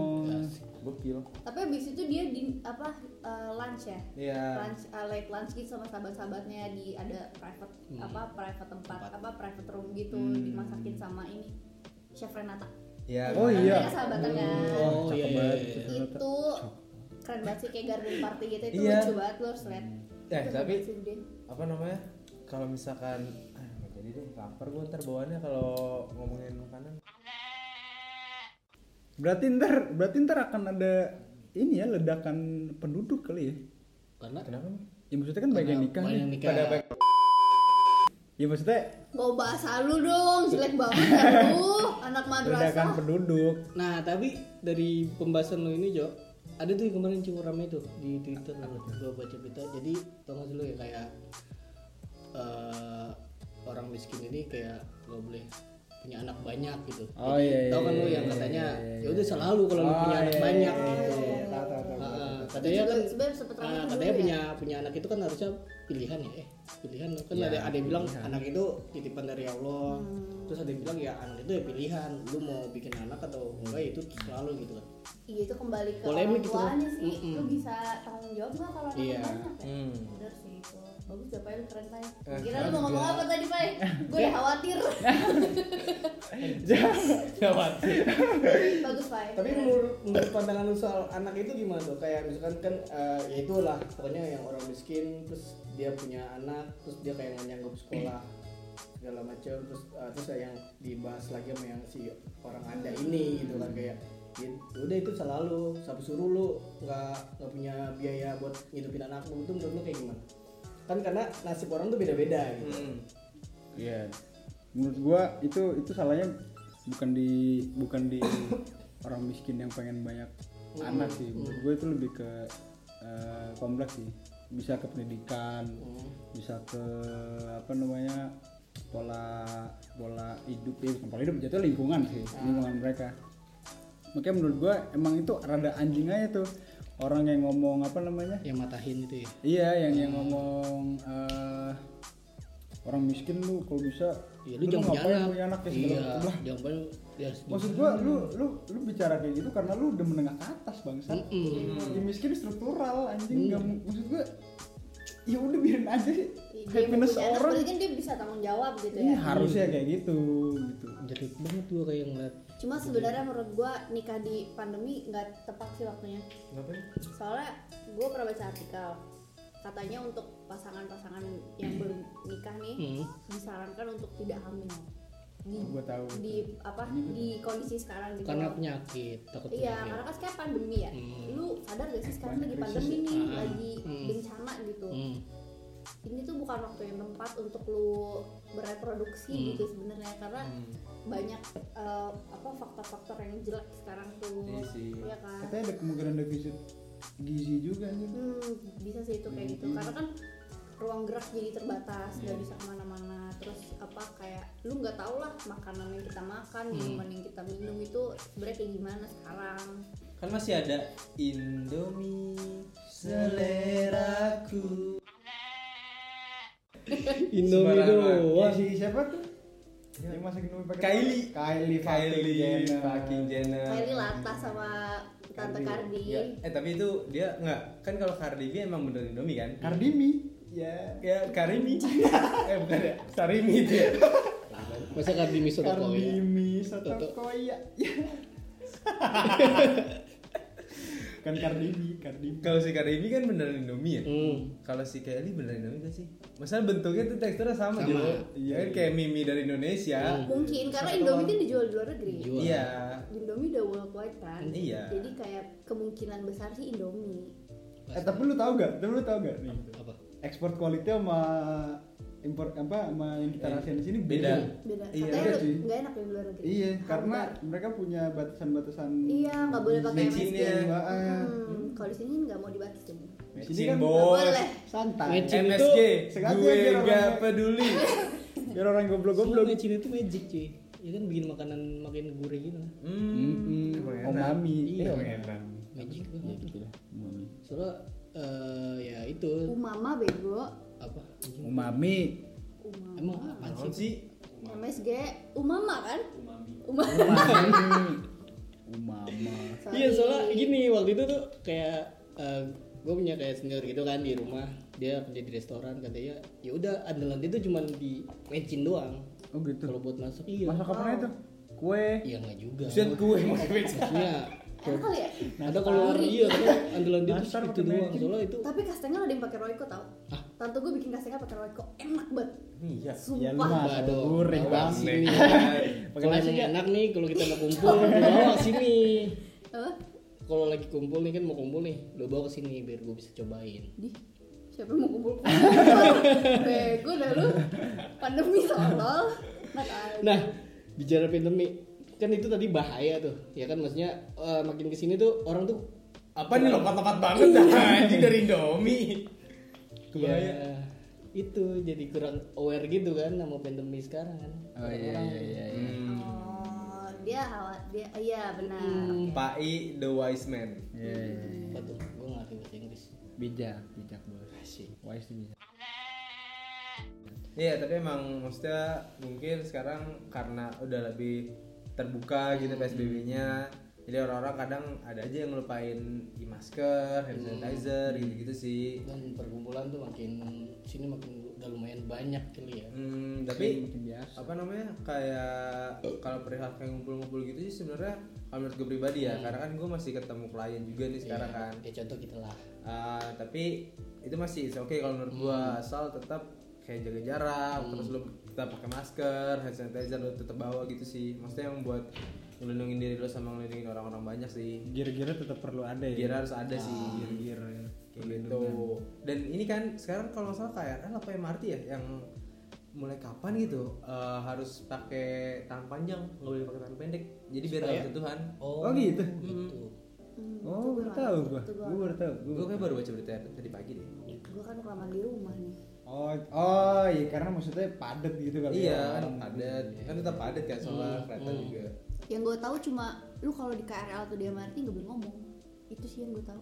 [SPEAKER 6] Asik.
[SPEAKER 4] Gokil
[SPEAKER 5] tapi abis itu dia di apa eh, lunch ya
[SPEAKER 4] Iya
[SPEAKER 5] lunch eh, late lunch gitu sama sahabat-sahabatnya di ada private
[SPEAKER 3] Hmm.
[SPEAKER 5] apa private tempat, apa private room gitu dimasakin sama ini chef Renata
[SPEAKER 4] Iya
[SPEAKER 6] Oh,
[SPEAKER 5] Kan
[SPEAKER 6] iya.
[SPEAKER 5] mereka sahabatan kan
[SPEAKER 3] Oh iya. iya, iya.
[SPEAKER 5] itu keren banget sih kayak garden party gitu itu
[SPEAKER 4] Iya.
[SPEAKER 5] lucu banget lo harus lihat
[SPEAKER 4] Eh,
[SPEAKER 5] Itu
[SPEAKER 4] tapi-
[SPEAKER 5] hebat sih dia.
[SPEAKER 4] Apa namanya kalau misalkan ah nggak jadi deh lapar gue ntar bawaannya kalau ngomongin makanan
[SPEAKER 6] Berarti ntar berarti ntar akan ada ini ya ledakan penduduk kali ya.
[SPEAKER 3] Karena
[SPEAKER 4] kenapa nih
[SPEAKER 6] Ya maksudnya kan banyak yang nikah
[SPEAKER 3] banyak
[SPEAKER 6] nih.
[SPEAKER 3] nikah.
[SPEAKER 4] pada baik
[SPEAKER 6] Ya maksudnya
[SPEAKER 5] mau bahasa lu dong jelek banget ya lu anak madrasah
[SPEAKER 3] kan,
[SPEAKER 6] ledakan penduduk.
[SPEAKER 3] Nah, tapi dari pembahasan lo ini, Jo, ada tuh yang kemarin cukup ramai tuh di Twitter gua baca berita. Jadi, tau gak sih lo ya kayak eh, orang miskin ini kayak gak boleh punya anak banyak gitu.
[SPEAKER 6] Oh,
[SPEAKER 3] Jadi,
[SPEAKER 6] iya, iya,
[SPEAKER 3] tau kan lo
[SPEAKER 6] iya,
[SPEAKER 3] yang
[SPEAKER 6] iya,
[SPEAKER 3] katanya
[SPEAKER 6] iya, iya.
[SPEAKER 3] ya udah selalu kalau lo
[SPEAKER 6] Oh,
[SPEAKER 3] punya anak
[SPEAKER 6] iya,
[SPEAKER 3] banyak
[SPEAKER 6] iya,
[SPEAKER 3] gitu.
[SPEAKER 6] iya, iya. Tahu, tahu, tahu,
[SPEAKER 3] Ah,
[SPEAKER 6] tahu.
[SPEAKER 3] ah,
[SPEAKER 5] itu
[SPEAKER 3] katanya
[SPEAKER 5] juga
[SPEAKER 3] kan
[SPEAKER 5] sebenarnya sempet ya. Kamu
[SPEAKER 3] Nah, katanya
[SPEAKER 5] dulu
[SPEAKER 3] punya punya anak itu kan harusnya pilihan ya. Eh, pilihan kan
[SPEAKER 6] Iya,
[SPEAKER 4] Ya,
[SPEAKER 3] ada ada yang bilang
[SPEAKER 4] pilihan.
[SPEAKER 3] anak itu titipan dari Allah. Terus ada yang bilang ya anak itu ya pilihan. Lu mau bikin anak atau enggak
[SPEAKER 6] Hmm.
[SPEAKER 3] ya itu selalu gitu kan.
[SPEAKER 5] Iya itu kembali ke
[SPEAKER 3] Polemik
[SPEAKER 5] orang
[SPEAKER 3] itu.
[SPEAKER 5] tuanya sih.
[SPEAKER 3] Mm-mm.
[SPEAKER 5] Lu bisa tanggung jawab nggak kalau anak
[SPEAKER 3] Iya.
[SPEAKER 5] banyak ya?
[SPEAKER 4] Hmm.
[SPEAKER 5] Bener sih itu. Bagus deh Pai, lu keren Pai.
[SPEAKER 4] Eh,
[SPEAKER 5] Kira lu mau ngomong apa tadi Pai? Gue udah khawatir. Bagus Pai.
[SPEAKER 3] Tapi
[SPEAKER 6] Iya.
[SPEAKER 3] menurut menurut pandangan lu soal anak itu gimana tuh? Kayak misalkan kan eh, ya itulah pokoknya yang orang miskin terus dia punya anak terus dia kayak nggak nyanggup sekolah segala macam terus eh, terus kayak yang dibahas lagi sama yang si orang anda ini gitu kan kayak ya udah itu selalu sampai suruh lu nggak nggak punya biaya buat ngidupin anak lu itu menurut lu kayak gimana? Kan karena nasib orang tuh beda-beda gitu.
[SPEAKER 6] Iya. Menurut gua itu itu salahnya bukan di bukan di orang miskin yang pengen banyak anak sih. Menurut gua itu lebih ke eh, kompleks sih. Bisa ke pendidikan,
[SPEAKER 3] Hmm.
[SPEAKER 6] bisa ke apa namanya pola pola hidup ya bukan pola hidup jatuh lingkungan sih lingkungan mereka makanya menurut gua emang itu rada anjing aja tuh orang yang ngomong apa namanya
[SPEAKER 3] Yang matahin itu ya.
[SPEAKER 6] Iya, yang yang ngomong eh, orang miskin lu kalau bisa
[SPEAKER 3] Iya, lu jangan punya
[SPEAKER 6] ngapain
[SPEAKER 3] anak.
[SPEAKER 6] punya anak ya
[SPEAKER 3] iya,
[SPEAKER 6] segala macam. Lah,
[SPEAKER 3] jangan punya- ya,
[SPEAKER 6] Maksud gua lu lu lu bicara kayak gitu karena lu udah menengah ke atas bangsat.
[SPEAKER 3] Mm-mm. Mm.
[SPEAKER 6] Ya miskin struktural anjing nggak mu- maksud gua ya udah biarin aja sih.
[SPEAKER 5] Dia mau
[SPEAKER 6] happiness
[SPEAKER 5] punya anak,
[SPEAKER 6] orang.
[SPEAKER 5] berarti kan dia bisa tanggung jawab gitu
[SPEAKER 6] Iya,
[SPEAKER 5] ya.
[SPEAKER 3] Mm.
[SPEAKER 6] harusnya kayak gitu gitu.
[SPEAKER 3] Jadi banget gua kayak ngeliat
[SPEAKER 5] Cuma sebenarnya menurut gua nikah di pandemi nggak tepat sih waktunya. Soalnya gua pernah baca artikel katanya untuk pasangan-pasangan yang belum nikah nih
[SPEAKER 3] Hmm.
[SPEAKER 5] disarankan untuk tidak hamil. Di,
[SPEAKER 6] Oh, gua tahu.
[SPEAKER 5] di apa di kondisi sekarang gitu.
[SPEAKER 3] karena penyakit takut
[SPEAKER 5] Iya,
[SPEAKER 3] penyakit.
[SPEAKER 5] karena kan sekarang pandemi ya.
[SPEAKER 3] Hmm.
[SPEAKER 5] Lu sadar gak sih sekarang lagi
[SPEAKER 6] Banyak
[SPEAKER 5] pandemi
[SPEAKER 6] krisis
[SPEAKER 5] nih,
[SPEAKER 3] Ah,
[SPEAKER 5] lagi
[SPEAKER 3] hmm.
[SPEAKER 5] bencana gitu.
[SPEAKER 3] Hmm.
[SPEAKER 5] Ini tuh bukan waktu yang tempat untuk lu bereproduksi
[SPEAKER 3] Hmm.
[SPEAKER 5] gitu sebenarnya karena
[SPEAKER 4] Hmm.
[SPEAKER 5] banyak eh, apa faktor-faktor yang jelek sekarang tuh.
[SPEAKER 4] Iya sih.
[SPEAKER 5] Iya kan?
[SPEAKER 6] Katanya ada kemungkinan defisit gizi juga anjing.
[SPEAKER 5] Hmm, bisa sih itu kayak gitu.
[SPEAKER 6] Hmm.
[SPEAKER 5] Karena kan ruang gerak jadi terbatas, nggak
[SPEAKER 6] Iya.
[SPEAKER 5] bisa kemana-mana. Terus apa kayak lu nggak tau lah makanan yang kita makan, minuman yang kita minum itu sebenarnya kayak gimana sekarang.
[SPEAKER 7] kan masih ada Indomie seleraku
[SPEAKER 3] Indomie
[SPEAKER 4] Sembarangan. Iya,
[SPEAKER 6] Wah,
[SPEAKER 3] doang.
[SPEAKER 6] si siapa tuh?
[SPEAKER 3] Iya.
[SPEAKER 6] Yang masak Indomie pakai
[SPEAKER 4] Kylie.
[SPEAKER 6] Kylie fucking
[SPEAKER 4] Kylie
[SPEAKER 6] Jenner.
[SPEAKER 4] fucking Jenner.
[SPEAKER 5] Kayak ini latah sama tante Kardi.
[SPEAKER 4] Ya, eh tapi itu dia nggak kan kalau Kardibi emang bener Indomie kan?
[SPEAKER 6] Kardimi.
[SPEAKER 3] Iya.
[SPEAKER 6] Ya.
[SPEAKER 4] Ya Karimi. eh bukan ya. Sarimi itu ya.
[SPEAKER 3] Masa Kartini soto koya?
[SPEAKER 6] Kardimi soto
[SPEAKER 3] Soto.
[SPEAKER 6] koya. Kan Kardimi, Kardimi.
[SPEAKER 4] Kalau si Karimi kan bener Indomie ya.
[SPEAKER 3] Hmm.
[SPEAKER 4] Kalau si Kelly bener Indomie gak sih? Masalah bentuknya tuh teksturnya sama,
[SPEAKER 3] Sama.
[SPEAKER 4] Hmm. juga.
[SPEAKER 6] Iya,
[SPEAKER 4] Iya, kan
[SPEAKER 6] iya.
[SPEAKER 4] kayak mimi dari Indonesia.
[SPEAKER 5] Mungkin karena Indomie kan dijual di luar negeri.
[SPEAKER 3] Dijual.
[SPEAKER 4] Iya.
[SPEAKER 5] Indomie udah worldwide kan.
[SPEAKER 4] Iya.
[SPEAKER 5] Jadi kayak kemungkinan besar sih Indomie.
[SPEAKER 6] Eh tapi lu tau gak? Tapi lu tau gak nih?
[SPEAKER 3] Apa?
[SPEAKER 6] Ekspor kualitas sama impor apa sama yang kita rasain di sini beda.
[SPEAKER 4] Eh, Beda.
[SPEAKER 5] Beda.
[SPEAKER 4] Iya,
[SPEAKER 5] Katanya
[SPEAKER 6] iya
[SPEAKER 5] lu-
[SPEAKER 6] sih.
[SPEAKER 5] nggak enak ya di luar negeri.
[SPEAKER 6] Iya, karena
[SPEAKER 5] Hambar.
[SPEAKER 6] mereka punya batasan-batasan.
[SPEAKER 5] Iya, nggak boleh pakai
[SPEAKER 4] Bensinnya.
[SPEAKER 5] MSG.
[SPEAKER 6] Heeh.
[SPEAKER 5] Hmm, kalau di sini nggak mau dibatasin.
[SPEAKER 6] Ah, Di
[SPEAKER 4] Matching
[SPEAKER 6] sini kan
[SPEAKER 5] Nggak
[SPEAKER 4] bos.
[SPEAKER 5] boleh.
[SPEAKER 6] santai.
[SPEAKER 3] Matching.
[SPEAKER 4] MSG,
[SPEAKER 6] sengaja
[SPEAKER 4] gue
[SPEAKER 6] biar orang-
[SPEAKER 4] gak peduli.
[SPEAKER 6] Biar orang
[SPEAKER 3] Sebelum
[SPEAKER 6] goblok-goblok.
[SPEAKER 3] ngecin itu magic cuy. Ya kan bikin makanan makin gurih gitu. kan.
[SPEAKER 4] Hmm, emang enak.
[SPEAKER 6] Omami.
[SPEAKER 3] Iya.
[SPEAKER 6] Eh, enak.
[SPEAKER 3] Magic
[SPEAKER 6] Iya,
[SPEAKER 3] banget.
[SPEAKER 6] gitu lah. Umami.
[SPEAKER 3] Soalnya eh, ya itu
[SPEAKER 5] Umama bego.
[SPEAKER 3] apa?
[SPEAKER 6] Umami.
[SPEAKER 5] Umama.
[SPEAKER 3] Emang apaan sih?
[SPEAKER 4] Apaan sih?
[SPEAKER 5] MSG. Umama kan? Umama.
[SPEAKER 6] Umama.
[SPEAKER 5] Sorry.
[SPEAKER 3] Iya soalnya gini waktu itu tuh kayak gue punya kayak senior gitu kan di rumah dia kerja di restoran katanya ya udah andalan dia tuh cuman di mecin doang
[SPEAKER 6] Oh gitu.
[SPEAKER 3] kalau buat masak iya
[SPEAKER 6] Masak apa itu? Oh. Kue.
[SPEAKER 3] iya nggak juga
[SPEAKER 4] Buset gue pakai meja.
[SPEAKER 3] maksudnya
[SPEAKER 5] Enak kali ya.
[SPEAKER 3] ada Iya. kalau iya karena andalan dia tuh
[SPEAKER 6] Nastar
[SPEAKER 3] itu
[SPEAKER 6] pakai
[SPEAKER 3] doang
[SPEAKER 6] mecin.
[SPEAKER 3] soalnya itu
[SPEAKER 5] Tapi kastengel ada yang pakai Royco tau? Tante gue bikin kastengel pakai Royco enak banget.
[SPEAKER 4] Iya.
[SPEAKER 5] Sumpah.
[SPEAKER 6] Ya lu mah
[SPEAKER 3] Waduh.
[SPEAKER 6] goreng
[SPEAKER 3] Waduh.
[SPEAKER 6] banget.
[SPEAKER 4] Aneh.
[SPEAKER 3] Kalau emang enak nih kalau kita mau kumpul, lu bawa ke sini.
[SPEAKER 5] Hah?
[SPEAKER 3] Kalau lagi kumpul nih kan mau kumpul nih, lu bawa ke sini biar gue bisa cobain.
[SPEAKER 5] Di, siapa yang mau kumpul? Bego dah lu. Pandemi tolol. Enak aja.
[SPEAKER 3] Nah, bicara pandemi, kan itu tadi bahaya tuh. Ya kan maksudnya eh, makin ke sini tuh orang tuh
[SPEAKER 4] Apa nih lompat-lompat banget dah anjing dari Indomie. Kebaya.
[SPEAKER 3] ya itu jadi kurang aware gitu kan sama pandemi sekarang kan.
[SPEAKER 6] Oh iya iya iya. iya.
[SPEAKER 4] Hmm.
[SPEAKER 5] Oh, dia awal dia iya benar.
[SPEAKER 4] Pak I the wise man.
[SPEAKER 6] Iya, iya, iya.
[SPEAKER 3] Apa tuh? Gue nggak ngerti bahasa Inggris.
[SPEAKER 6] bijak bijak bos wise tuh bijak
[SPEAKER 4] Iya, tapi emang maksudnya mungkin sekarang karena udah lebih terbuka gitu PSBB-nya. Jadi orang-orang kadang ada aja yang ngelupain e masker, hand sanitizer gitu-gitu sih.
[SPEAKER 3] dan Kan perkumpulan tuh makin sini makin udah lumayan banyak kali ya
[SPEAKER 4] Hmm, tapi
[SPEAKER 6] Mungkin biasa
[SPEAKER 4] apa namanya kayak kalau perihal kayak ngumpul-ngumpul gitu sih sebenarnya kalau menurut gue pribadi ya karena kan gue masih ketemu klien juga nih sekarang
[SPEAKER 3] ya,
[SPEAKER 4] kan
[SPEAKER 3] ya contoh kita lah
[SPEAKER 4] Ah, tapi itu masih oke kalau menurut gua asal tetap kayak jaga jarak terus lu tetap pakai masker hand sanitizer lu tetap bawa gitu sih maksudnya yang buat ngelindungin diri lu sama ngelindungin orang-orang banyak sih
[SPEAKER 6] gear-gear tetap perlu ada ya
[SPEAKER 4] kira harus ada sih Iya.
[SPEAKER 6] gear
[SPEAKER 4] Ah. kayak gitu dan ini kan sekarang kalau nggak salah KRL apa MRT ya yang mulai kapan gitu eh, harus pakai tangan panjang nggak boleh pakai tangan pendek jadi biar nggak bersentuhan
[SPEAKER 6] Oh, gitu?
[SPEAKER 3] gitu
[SPEAKER 6] oh baru tahu gua gua baru tahu gua
[SPEAKER 4] gue kayak baru baca berita tadi pagi deh
[SPEAKER 5] gue kan kelamaan di rumah nih
[SPEAKER 6] Oh, oh iya karena maksudnya padat gitu kali
[SPEAKER 4] iya,
[SPEAKER 6] ya.
[SPEAKER 4] tetap padat. Kan tetap padat kan soalnya
[SPEAKER 6] Hmm.
[SPEAKER 4] kereta juga.
[SPEAKER 5] yang gue tahu cuma lu kalau di KRL atau di MRT nggak boleh ngomong itu sih yang gue tahu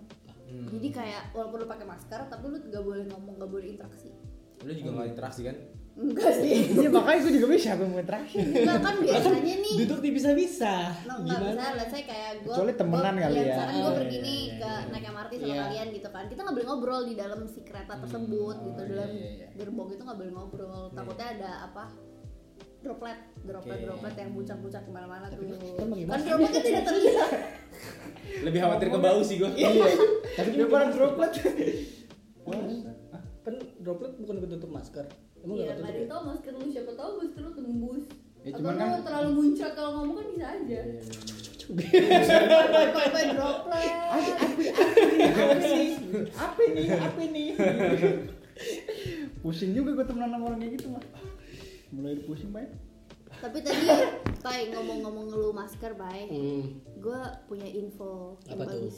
[SPEAKER 6] Hmm.
[SPEAKER 5] jadi
[SPEAKER 4] Hmm.
[SPEAKER 5] kayak walaupun lu pakai masker tapi lu nggak boleh ngomong nggak boleh interaksi
[SPEAKER 4] Lu juga nggak interaksi kan?
[SPEAKER 5] enggak sih
[SPEAKER 6] Iya makanya gue juga bisa gue mau terakhir.
[SPEAKER 5] enggak kan biasanya nih
[SPEAKER 3] duduk di bisa bisa
[SPEAKER 5] No, nggak bisa, let's say kayak gue
[SPEAKER 6] Kecuali temenan kali ya.
[SPEAKER 5] Misalkan gue
[SPEAKER 3] Oh,
[SPEAKER 5] pergi
[SPEAKER 3] iya,
[SPEAKER 5] nih
[SPEAKER 3] iya,
[SPEAKER 5] ke naik MRT sama
[SPEAKER 3] Iya.
[SPEAKER 5] kalian gitu kan Kita nggak boleh ngobrol di dalam si kereta tersebut gitu Dalam
[SPEAKER 4] iya, iya.
[SPEAKER 5] gerbong itu nggak boleh ngobrol Takutnya ada apa droplet droplet droplet yang bucak-bucak kemana-mana tuh kan dropletnya tidak terlihat
[SPEAKER 4] Lebih khawatir ke bau sih
[SPEAKER 6] Iya.
[SPEAKER 4] gua. Iya.
[SPEAKER 3] tapi dia bukan droplet
[SPEAKER 6] Oh, iya.
[SPEAKER 3] kan droplet bukan ketutup masker emang
[SPEAKER 5] iya
[SPEAKER 3] gak
[SPEAKER 5] nggak ada
[SPEAKER 3] ketutup ya?
[SPEAKER 5] yang tahu masker lu siapa tahu masker lu tembus
[SPEAKER 6] Ya,
[SPEAKER 5] atau
[SPEAKER 6] cuman
[SPEAKER 5] lu
[SPEAKER 6] kan-
[SPEAKER 5] terlalu muncrat kalau ngomong kan bisa aja Apa droplet
[SPEAKER 6] Iya,
[SPEAKER 3] apa ini apa ini
[SPEAKER 6] Pusing juga gue temenan sama orang kayak gitu mah. Mulai pusing ya. banget.
[SPEAKER 5] tapi tadi Pai ngomong-ngomong lu masker ya. Pai
[SPEAKER 3] hmm.
[SPEAKER 5] gue punya info yang
[SPEAKER 3] Apa tuh?
[SPEAKER 5] bagus.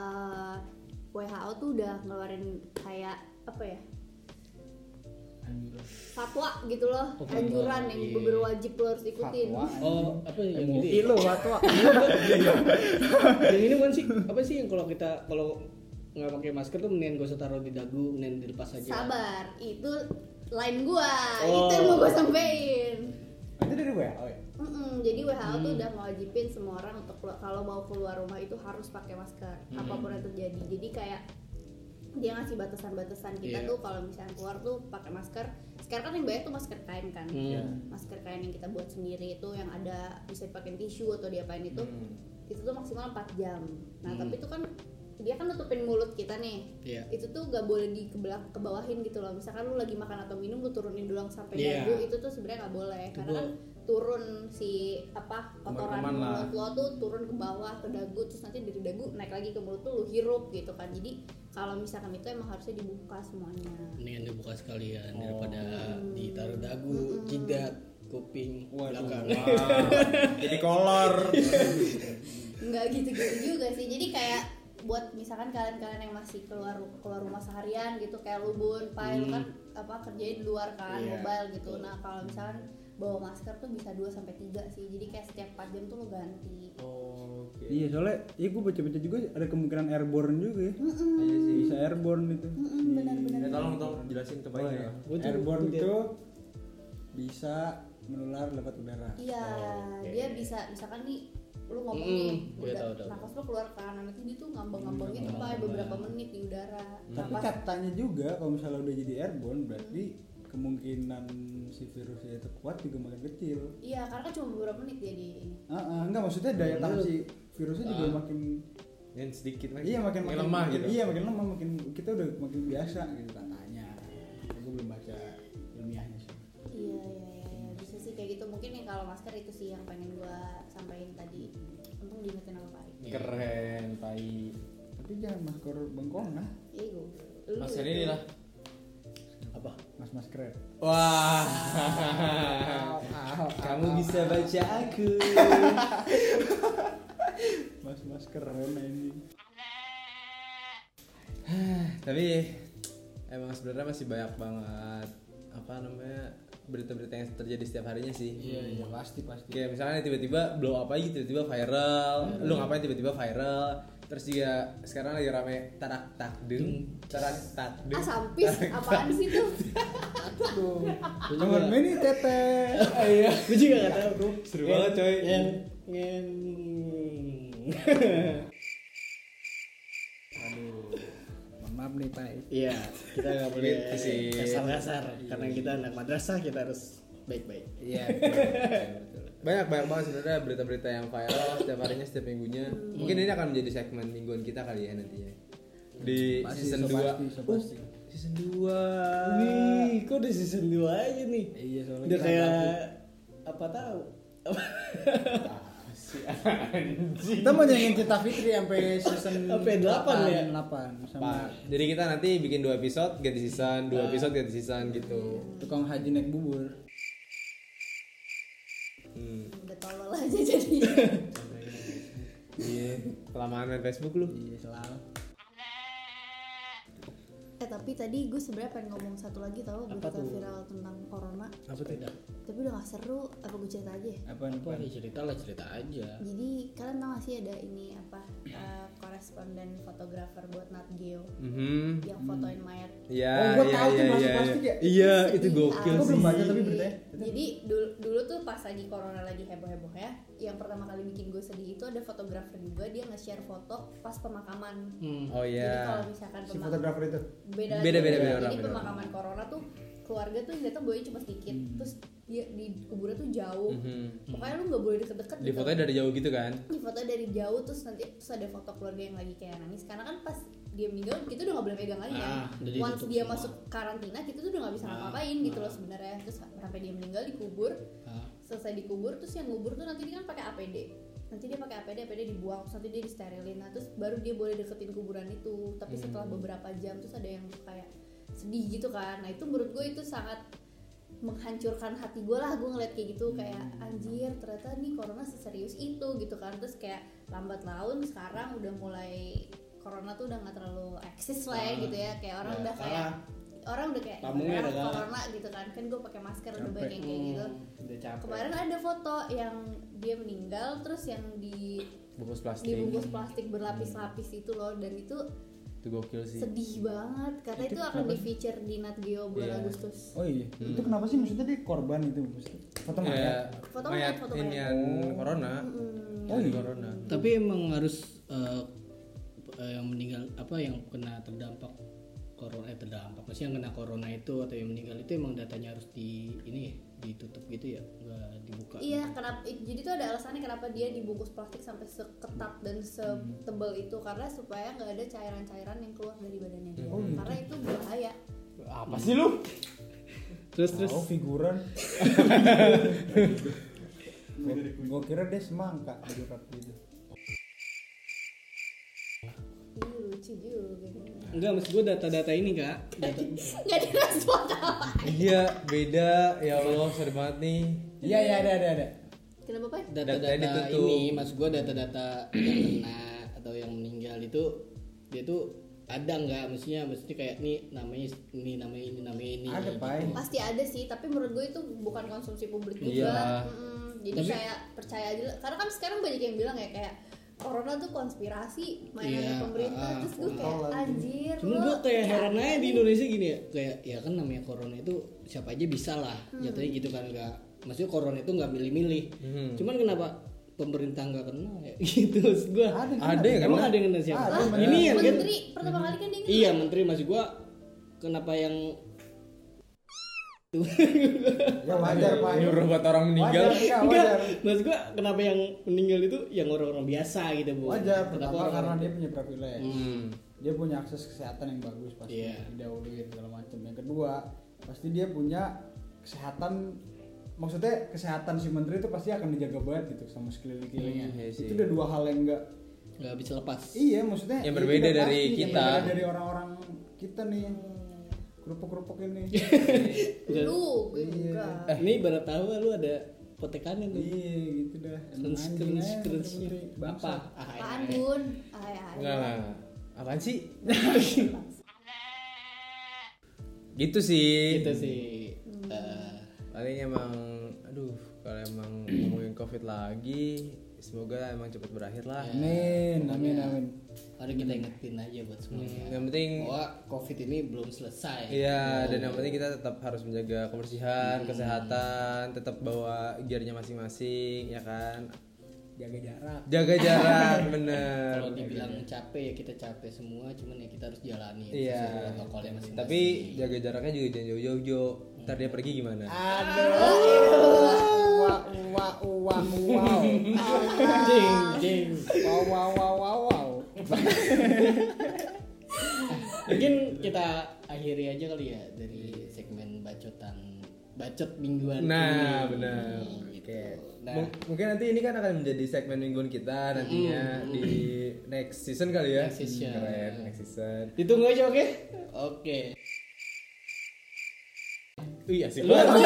[SPEAKER 5] Eh, WHO tuh udah ngeluarin kayak apa ya? Fatwa gitu loh,
[SPEAKER 3] Oh, fatwa,
[SPEAKER 5] anjuran yang
[SPEAKER 3] iya.
[SPEAKER 5] berwajib lo harus ikutin.
[SPEAKER 6] Fatwa.
[SPEAKER 3] oh apa yang
[SPEAKER 6] Mungkin
[SPEAKER 3] ini
[SPEAKER 6] lu waktu
[SPEAKER 3] yang ini bukan sih apa sih yang kalau kita kalau nggak pakai masker tuh mendingan gak usah taruh di dagu mendingan dilepas aja
[SPEAKER 5] Sabar, itu line gua,
[SPEAKER 3] Oh.
[SPEAKER 5] itu yang mau gue sampein.
[SPEAKER 6] Itu dari gue.
[SPEAKER 4] ya?
[SPEAKER 6] Oh iya.
[SPEAKER 5] Mm-mm, jadi WHO tuh
[SPEAKER 3] Hmm.
[SPEAKER 5] udah mewajibin semua orang untuk kelu- kalau mau keluar rumah itu harus pakai masker
[SPEAKER 3] Hmm.
[SPEAKER 5] apapun yang terjadi. Jadi kayak dia ngasih batasan-batasan
[SPEAKER 3] Iya.
[SPEAKER 5] kita tuh kalau misalnya keluar tuh pakai masker. Sekarang kan yang banyak tuh masker kain kan.
[SPEAKER 3] Hmm. Iya.
[SPEAKER 5] Masker kain yang kita buat sendiri itu yang ada bisa dipakai tisu atau diapain itu.
[SPEAKER 4] Hmm.
[SPEAKER 5] Itu tuh maksimal 4 jam. Nah, tapi itu kan dia kan nutupin mulut kita nih.
[SPEAKER 3] Iya.
[SPEAKER 5] Itu tuh gak boleh di kebelak- kebawahin gitu loh. Misalkan lu lagi makan atau minum lu turunin doang sampai
[SPEAKER 3] Iya.
[SPEAKER 5] dagu itu tuh sebenarnya nggak boleh karena
[SPEAKER 3] gua-
[SPEAKER 5] kan turun si apa kotoran
[SPEAKER 4] Teman-teman lah.
[SPEAKER 5] mulut lo tuh turun ke bawah ke dagu terus nanti dari dagu naik lagi ke mulut tuh lo hirup gitu kan jadi kalau misalkan itu emang harusnya dibuka semuanya
[SPEAKER 3] mendingan dibuka sekalian daripada ditaruh dagu jidat kuping belakang
[SPEAKER 4] Iya, Jadi kolor.
[SPEAKER 5] nggak gitu gitu juga sih jadi kayak buat misalkan kalian-kalian yang masih keluar keluar rumah seharian gitu kayak lu bun pai lu kan apa kerjain di luar
[SPEAKER 3] Hmm.
[SPEAKER 5] kan
[SPEAKER 3] Iya,
[SPEAKER 5] mobile gitu nah kalau misalkan bawa masker tuh bisa 2 sampai tiga sih jadi kayak setiap 4 jam tuh lo ganti
[SPEAKER 3] Oh,
[SPEAKER 4] Oke.
[SPEAKER 6] Iya soalnya, iya gue baca-baca juga ada kemungkinan airborne juga ya. Iya sih. Bisa airborne gitu. Iya. itu.
[SPEAKER 5] benar-benar
[SPEAKER 4] Ya tolong tolong jelasin ke
[SPEAKER 6] Oh,
[SPEAKER 4] Bayu
[SPEAKER 6] iya.
[SPEAKER 4] ya.
[SPEAKER 3] Gua tuh-
[SPEAKER 6] Airborne
[SPEAKER 3] gua-
[SPEAKER 6] itu bisa menular lewat udara.
[SPEAKER 5] Iya, dia bisa misalkan nih lu ngomong
[SPEAKER 3] Mm,
[SPEAKER 5] nih,
[SPEAKER 3] gue
[SPEAKER 5] udah,
[SPEAKER 3] tahu, tahu. Hmm, ya.
[SPEAKER 5] nafas lu keluar ke kanan nanti dia tuh ngambang-ngambang gitu pak beberapa menit di udara.
[SPEAKER 6] Tapi
[SPEAKER 5] Nafas-
[SPEAKER 6] katanya juga kalau misalnya udah jadi airborne berarti kemungkinan si virusnya itu kuat juga makin kecil.
[SPEAKER 5] Iya, karena kan cuma beberapa menit dia di ini.
[SPEAKER 6] Ah, ah, enggak maksudnya daya tahan si virusnya juga makin
[SPEAKER 4] Dan sedikit lagi.
[SPEAKER 6] iya Ah. makin,
[SPEAKER 4] Makin lemah gitu.
[SPEAKER 6] Iya makin lemah makin kita udah makin biasa gitu katanya. Gue belum baca ilmiahnya sih.
[SPEAKER 5] Iya, iya, iya, iya. Bisa sih kayak gitu. Mungkin yang kalau masker itu sih yang pengen gua sampaikan tadi. Untung diingetin sama Pak.
[SPEAKER 4] Keren, Pai.
[SPEAKER 6] Tapi jangan masker bengkong lah,
[SPEAKER 5] Iya, gue.
[SPEAKER 4] Mas ini lah.
[SPEAKER 3] apa
[SPEAKER 6] mas masker.
[SPEAKER 4] Wah. Kamu bisa baca aku.
[SPEAKER 6] Mas masker ini.
[SPEAKER 4] Tapi emang sebenarnya masih banyak banget apa namanya berita-berita yang terjadi setiap harinya sih.
[SPEAKER 6] Iya iya
[SPEAKER 3] Gitu.
[SPEAKER 6] pasti pasti. Hmm.
[SPEAKER 4] Kayak misalnya tiba-tiba blow up aja tiba-tiba viral, lu ngapain tiba-tiba viral, terus juga sekarang lagi rame tarak takdung tarak takdung
[SPEAKER 5] ah sampis apaan sih tuh
[SPEAKER 6] Kamar mini tete.
[SPEAKER 3] iya gue juga gak tau tuh
[SPEAKER 4] Seru banget, coy.
[SPEAKER 3] yang yang
[SPEAKER 6] Mohon maaf nih Pak.
[SPEAKER 3] iya kita gak boleh
[SPEAKER 4] Gitu sih.
[SPEAKER 3] kasar-kasar iya, karena kita anak madrasah kita harus baik-baik
[SPEAKER 4] Iya. betul, betul, betul. banyak banyak banget sebenarnya berita-berita yang viral setiap harinya setiap minggunya.
[SPEAKER 5] Hmm.
[SPEAKER 4] Mungkin ini akan menjadi segmen mingguan kita kali ya nantinya di season
[SPEAKER 6] so
[SPEAKER 4] 2
[SPEAKER 6] pasti, so pasti.
[SPEAKER 4] Season 2
[SPEAKER 3] Wih, kok udah season 2 aja nih?
[SPEAKER 6] Iya, soalnya
[SPEAKER 3] Udah
[SPEAKER 6] kita
[SPEAKER 3] kayak apa tahu?
[SPEAKER 6] Kita mau nyanyiin Cita Fitri sampai season
[SPEAKER 3] Sampai delapan ya?
[SPEAKER 6] 8
[SPEAKER 4] Pak,
[SPEAKER 6] sama
[SPEAKER 4] Jadi kita nanti bikin dua episode ganti season, dua episode ganti season gitu.
[SPEAKER 6] tukang haji naik bubur.
[SPEAKER 4] Hmm.
[SPEAKER 5] udah tolol aja jadi
[SPEAKER 4] Iya. Kelamaan main Facebook lu.
[SPEAKER 6] Iya, selalu.
[SPEAKER 5] eh tapi tadi gue sebenarnya pengen ngomong satu lagi tau berita viral tentang corona
[SPEAKER 3] Apa tidak?
[SPEAKER 5] tapi udah gak seru apa gue cerita aja ya?
[SPEAKER 6] Apaan?
[SPEAKER 3] Apa nih cerita lah cerita aja.
[SPEAKER 5] jadi kalian tau gak sih ada ini apa eh, koresponden fotografer buat Nat Geo
[SPEAKER 4] Mhm.
[SPEAKER 5] yang fotoin mayat
[SPEAKER 4] Iya,
[SPEAKER 6] Oh, gua
[SPEAKER 4] iya,
[SPEAKER 6] tahu tuh
[SPEAKER 4] iya,
[SPEAKER 6] masuk
[SPEAKER 4] iya,
[SPEAKER 6] plastik
[SPEAKER 4] iya.
[SPEAKER 6] ya.
[SPEAKER 4] Iya, itu
[SPEAKER 5] Sedih,
[SPEAKER 4] gokil
[SPEAKER 5] ah.
[SPEAKER 6] Gua
[SPEAKER 4] sih.
[SPEAKER 6] belum baca tapi beritanya.
[SPEAKER 5] jadi dulu, dulu tuh pas lagi corona lagi heboh heboh ya yang pertama kali bikin gue sedih itu ada fotografer juga dia nge-share foto pas pemakaman
[SPEAKER 4] Oh
[SPEAKER 5] jadi kalau
[SPEAKER 4] iya.
[SPEAKER 5] misalkan
[SPEAKER 6] Si
[SPEAKER 5] pemakaman
[SPEAKER 6] fotografer itu.
[SPEAKER 5] beda
[SPEAKER 4] Beda,
[SPEAKER 5] lagi.
[SPEAKER 4] beda, beda orang,
[SPEAKER 5] jadi
[SPEAKER 4] beda
[SPEAKER 5] pemakaman corona tuh keluarga tuh yang datang bawain cuma sedikit
[SPEAKER 4] Hmm.
[SPEAKER 5] terus dia di kuburan tuh jauh
[SPEAKER 4] Mhm.
[SPEAKER 5] pokoknya lu nggak boleh deket-deket
[SPEAKER 4] Di fotonya dari jauh gitu kan?
[SPEAKER 5] di foto dari jauh terus nanti terus ada foto keluarga yang lagi kayak nangis karena kan pas dia meninggal kita udah nggak boleh pegang lagi kan
[SPEAKER 3] Ah, jadi
[SPEAKER 5] once
[SPEAKER 3] ditutup
[SPEAKER 5] dia
[SPEAKER 3] semua.
[SPEAKER 5] masuk karantina kita tuh udah nggak bisa ngapa-ngapain gitu loh sebenarnya terus sampai dia meninggal dikubur
[SPEAKER 3] Ah.
[SPEAKER 5] selesai dikubur terus yang ngubur tuh nanti dia kan pakai APD nanti dia pakai APD APD dibuang terus nanti dia disterilin nah terus baru dia boleh deketin kuburan itu tapi setelah beberapa jam terus ada yang kayak sedih gitu kan nah itu menurut gue itu sangat menghancurkan hati gue lah gue ngeliat kayak gitu kayak anjir ternyata nih corona seserius itu gitu kan terus kayak lambat laun sekarang udah mulai corona tuh udah nggak terlalu eksis lah ya gitu ya kayak orang
[SPEAKER 3] Ya,
[SPEAKER 5] udah kayak
[SPEAKER 3] kalah.
[SPEAKER 5] orang udah kayak
[SPEAKER 3] Lambungnya
[SPEAKER 5] "Ah,
[SPEAKER 3] udah kalah."
[SPEAKER 5] corona gitu kan kan gue pakai masker udah banyak yang kayak gitu
[SPEAKER 3] Oh, Udah capek.
[SPEAKER 5] kemarin ada foto yang dia meninggal terus yang di
[SPEAKER 4] Bungkus plastik.
[SPEAKER 5] dibungkus plastik berlapis-lapis itu loh dan itu
[SPEAKER 4] Itu gokil sih.
[SPEAKER 5] sedih banget karena itu, akan di feature di Nat Geo bulan
[SPEAKER 4] Iya.
[SPEAKER 5] Agustus
[SPEAKER 6] Oh iya. Itu kenapa sih maksudnya dia korban itu maksudnya? Foto mayat.
[SPEAKER 4] Iya,
[SPEAKER 5] Foto
[SPEAKER 4] mayat
[SPEAKER 5] mayat, foto
[SPEAKER 4] ini
[SPEAKER 5] mayat.
[SPEAKER 4] yang corona. Oh iya, corona.
[SPEAKER 3] Tapi emang harus eh, eh, yang meninggal apa yang kena terdampak corona eh, terdampak maksudnya yang kena corona itu atau yang meninggal itu emang datanya harus di ini ya, ditutup gitu ya nggak dibuka
[SPEAKER 5] Iya, kenapa? Jadi tuh ada alasannya kenapa dia dibungkus plastik sampai seketat dan setebal itu karena supaya nggak ada cairan-cairan yang keluar dari badannya dia. Karena itu bahaya.
[SPEAKER 4] Apa sih lu?
[SPEAKER 3] terus terus
[SPEAKER 6] Oh figuran. Gue kira dia semangka figuran gitu.
[SPEAKER 5] Ih, lucu juga.
[SPEAKER 3] enggak maksud gue data-data ini kak data
[SPEAKER 5] Gak ada respon apa.
[SPEAKER 4] Iya, beda. Ya Allah, seru banget nih.
[SPEAKER 6] Iya iya ada ada ada.
[SPEAKER 5] Kenapa pak?
[SPEAKER 4] Datanya
[SPEAKER 3] data-data
[SPEAKER 4] ditutup.
[SPEAKER 3] ini maksud gue data-data yang kena atau yang meninggal itu dia tuh ada nggak maksudnya maksudnya kayak nih namanya ini namanya ini namanya ini
[SPEAKER 6] Ada
[SPEAKER 3] gitu.
[SPEAKER 6] pai.
[SPEAKER 5] Pasti ada sih, tapi menurut gue itu bukan konsumsi publik
[SPEAKER 4] Iya.
[SPEAKER 5] juga. Mm, jadi kayak percaya aja. lah. Karena kan sekarang banyak yang bilang ya kayak corona tuh konspirasi mainannya
[SPEAKER 3] Iya,
[SPEAKER 5] pemerintah.
[SPEAKER 3] ah,
[SPEAKER 5] Terus gue kayak anjir. iya."
[SPEAKER 3] Cuma
[SPEAKER 5] lo
[SPEAKER 3] gue kayak
[SPEAKER 5] percaya
[SPEAKER 3] heran aja di
[SPEAKER 5] nih.
[SPEAKER 3] Indonesia gini ya kayak ya kan namanya corona itu siapa aja bisa lah jatuhnya gitu kan nggak maksudnya corona itu nggak milih-milih
[SPEAKER 6] Hmm.
[SPEAKER 3] cuman kenapa pemerintah nggak kenal ya gitu maksud gue
[SPEAKER 6] Ada,
[SPEAKER 4] Ada yang
[SPEAKER 3] emang
[SPEAKER 4] kena?
[SPEAKER 3] ada yang kena siapa
[SPEAKER 6] Ada,
[SPEAKER 3] Ah,
[SPEAKER 6] bener.
[SPEAKER 3] ini yang kan
[SPEAKER 5] Menteri pertama kali kan dia nge-
[SPEAKER 3] iya menteri maksud gue kenapa yang
[SPEAKER 6] Ya wajar pak.
[SPEAKER 4] Nyuruh buat orang meninggal.
[SPEAKER 6] Wajar, iya, wajar.
[SPEAKER 3] Enggak, maksud gua kenapa yang meninggal itu yang orang-orang biasa gitu bu?
[SPEAKER 6] Wajar
[SPEAKER 3] Kenapa
[SPEAKER 6] pertama karena
[SPEAKER 3] orang-orang
[SPEAKER 6] dia punya privilege.
[SPEAKER 4] Hmm.
[SPEAKER 6] Dia punya akses kesehatan yang bagus pasti
[SPEAKER 3] Iya.
[SPEAKER 6] didahuluin segala macam. Yang kedua pasti dia punya kesehatan maksudnya kesehatan si menteri itu pasti akan dijaga banget gitu sama sekeliling-kelilingnya.
[SPEAKER 4] Hmm, iya sih.
[SPEAKER 6] itu udah dua hal yang enggak
[SPEAKER 3] nggak bisa lepas?
[SPEAKER 6] Iya maksudnya
[SPEAKER 4] Yang
[SPEAKER 6] ya
[SPEAKER 4] berbeda
[SPEAKER 6] udah
[SPEAKER 4] dari
[SPEAKER 6] pasti, yang
[SPEAKER 4] kita.
[SPEAKER 6] berbeda dari orang-orang kita nih yang kerupuk-kerupuk ini.
[SPEAKER 5] Lu, gue enggak.
[SPEAKER 3] Ini baru tahu lu ada potekannya tuh.
[SPEAKER 6] iya gitu dah. Emang
[SPEAKER 3] Sunscreen,
[SPEAKER 6] anjing aja,
[SPEAKER 3] sunscreen,
[SPEAKER 6] putih-putih. Bangsa.
[SPEAKER 3] apa? Ah,
[SPEAKER 5] Apaan bun? Ay, ay.
[SPEAKER 4] Enggak lah. Apaan sih? gitu sih.
[SPEAKER 3] Itu sih. eh,
[SPEAKER 4] Paling emang aduh, kalau emang
[SPEAKER 3] Iya.
[SPEAKER 4] ngomongin Covid lagi, semoga emang cepat berakhir lah.
[SPEAKER 6] Amin, amin, amin.
[SPEAKER 3] mari kita ingetin aja buat semuanya
[SPEAKER 4] Hmm, yang penting
[SPEAKER 3] bahwa covid ini belum selesai
[SPEAKER 4] Iya, dan yang penting kita tetap harus menjaga kebersihan,
[SPEAKER 3] Hmm.
[SPEAKER 4] kesehatan, tetap bawa gearnya masing-masing, ya kan?
[SPEAKER 6] jaga jarak
[SPEAKER 4] Jaga jarak, bener.
[SPEAKER 3] kalau dibilang capek ya kita capek semua cuman ya kita harus jalani
[SPEAKER 4] Iya.
[SPEAKER 3] protokolnya masing-masing
[SPEAKER 4] Tapi jaga jaraknya juga jangan jauh-jauh, Jo. Ntar dia pergi gimana?
[SPEAKER 3] Ah,
[SPEAKER 6] wah wah wah wow
[SPEAKER 3] jing jing
[SPEAKER 6] wow wow wow wow wow
[SPEAKER 3] mungkin kita akhiri aja kali ya dari segmen bacotan bacot mingguan
[SPEAKER 4] Nah,
[SPEAKER 3] ini.
[SPEAKER 4] benar.
[SPEAKER 3] Gitu.
[SPEAKER 4] Oke.
[SPEAKER 3] Hmm. nah
[SPEAKER 4] Mung- mungkin nanti ini kan akan menjadi segmen mingguan kita nantinya di next season kali ya.
[SPEAKER 3] Hmm. Next season.
[SPEAKER 4] Keren, next season.
[SPEAKER 3] ditunggu aja oke oke
[SPEAKER 4] Iya sih.
[SPEAKER 3] Oh lu harus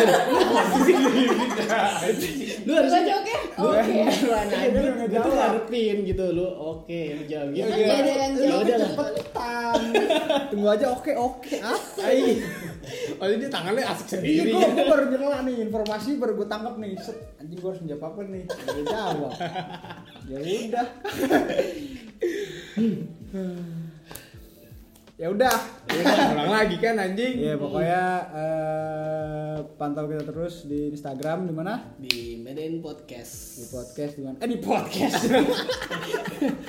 [SPEAKER 3] lu harus aja oke oke lu anak
[SPEAKER 6] Dia udah
[SPEAKER 3] itu
[SPEAKER 6] ngejawab.
[SPEAKER 4] kan?
[SPEAKER 3] ngarepin gitu lu oke lu jawab ya
[SPEAKER 5] kan gak ada yang
[SPEAKER 3] ya
[SPEAKER 5] jawab
[SPEAKER 3] udah lah
[SPEAKER 6] cepetan tunggu aja oke oke ah
[SPEAKER 4] Ai. Oh, ini tangannya asik
[SPEAKER 6] Iya,
[SPEAKER 4] sendiri.
[SPEAKER 6] gue baru nyela nih informasi baru gue tangkap nih. Set, anjing gue harus menjawab apa nih? Gue jawab. Ya udah. ya udah.
[SPEAKER 4] Ulang lagi kan anjing.
[SPEAKER 3] Iya.
[SPEAKER 6] Ya pokoknya eh, pantau kita terus di Instagram di mana?
[SPEAKER 3] di Medan Podcast
[SPEAKER 6] Di podcast di mana? Eh di podcast.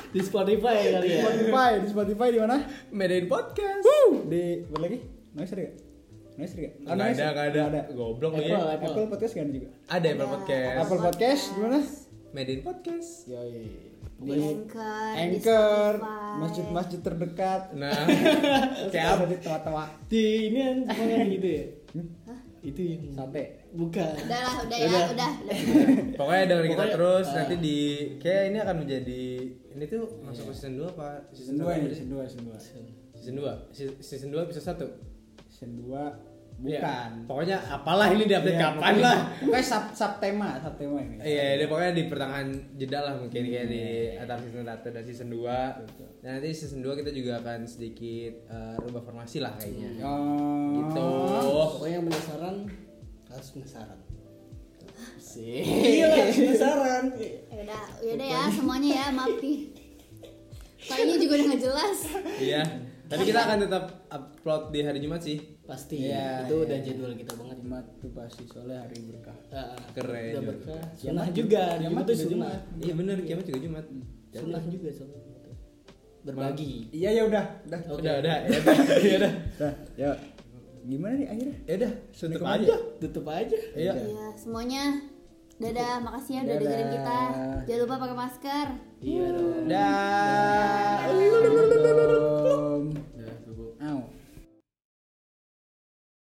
[SPEAKER 3] di Spotify kali
[SPEAKER 6] di
[SPEAKER 3] ya
[SPEAKER 6] Spotify, di Spotify di mana?
[SPEAKER 4] Medain podcast.
[SPEAKER 6] Woo! Di apa lagi? Noise ada gak? Noise ada gak?
[SPEAKER 4] Nggak ada, nggak ada. Goblok lu ya.
[SPEAKER 6] Apple, Apple podcast kan juga.
[SPEAKER 4] Ada ya podcast.
[SPEAKER 6] Apple podcast di mana?
[SPEAKER 4] Medain podcast.
[SPEAKER 6] Yoi.
[SPEAKER 5] Di Anchor, di
[SPEAKER 6] Anchor,
[SPEAKER 5] Spotify.
[SPEAKER 6] masjid-masjid terdekat.
[SPEAKER 4] Nah,
[SPEAKER 6] Terus
[SPEAKER 4] siap.
[SPEAKER 6] ada di tawa-tawa
[SPEAKER 3] di ini kan semuanya gitu ya itu yang
[SPEAKER 6] sate.
[SPEAKER 3] bukan
[SPEAKER 5] Udah lah, udah ya, udah.
[SPEAKER 4] Pokoknya dengerin kita
[SPEAKER 3] Pokoknya,
[SPEAKER 4] terus
[SPEAKER 3] ah.
[SPEAKER 4] nanti di kayak ini akan menjadi ini tuh masuk ke season 2 apa
[SPEAKER 6] Season 2
[SPEAKER 4] berapa
[SPEAKER 6] ini,
[SPEAKER 4] sih?
[SPEAKER 6] season 2, season 2.
[SPEAKER 4] Season 2. Season 2 episode 1.
[SPEAKER 6] Season 2 bukan.
[SPEAKER 4] Pokoknya apalah ini di Iya. update
[SPEAKER 6] Iya,
[SPEAKER 4] kapan
[SPEAKER 6] pokoknya-
[SPEAKER 4] lah.
[SPEAKER 6] Pokoknya sub sub tema, sub tema ini.
[SPEAKER 4] Iya, ini pokoknya di pertengahan jeda lah mungkin kayak di antara season 1 dan season 2. Dan nanti season 2 kita juga akan sedikit eh, rubah formasi lah kayaknya.
[SPEAKER 6] Oh.
[SPEAKER 4] Gitu.
[SPEAKER 3] pokoknya yang penasaran harus penasaran sih iya penasaran
[SPEAKER 5] Ya udah, ya udah ya semuanya ya, maaf nih. Kayaknya juga udah nggak jelas.
[SPEAKER 4] Iya. Tapi kita akan tetap upload di hari Jumat sih.
[SPEAKER 3] pasti
[SPEAKER 6] Iya,
[SPEAKER 3] itu
[SPEAKER 6] iya.
[SPEAKER 3] udah jadwal kita banget
[SPEAKER 6] Jumat tuh pasti soalnya hari berkah.
[SPEAKER 3] Ah,
[SPEAKER 4] Keren.
[SPEAKER 3] udah berkah
[SPEAKER 6] Jumat
[SPEAKER 3] sunnah juga
[SPEAKER 6] Jumat
[SPEAKER 3] Jumat
[SPEAKER 6] juga
[SPEAKER 3] itu sunnah
[SPEAKER 6] Jumat.
[SPEAKER 4] Iya bener, kiamat juga Jumat.
[SPEAKER 3] sunnah juga soalnya berbagi
[SPEAKER 6] Iya ya udah, udah.
[SPEAKER 4] Udah, udah. Ya udah. Ya udah.
[SPEAKER 6] Dah, ya. Gimana nih akhirnya?
[SPEAKER 4] Ya udah, tutup
[SPEAKER 6] Assalamualaikum
[SPEAKER 4] aja.
[SPEAKER 3] tutup aja
[SPEAKER 4] Iya.
[SPEAKER 5] Ya, semuanya dadah, makasih ya udah
[SPEAKER 6] Dadah.
[SPEAKER 5] dengerin kita. Jangan lupa pakai masker.
[SPEAKER 3] iya dong
[SPEAKER 4] Dah.
[SPEAKER 6] Belum.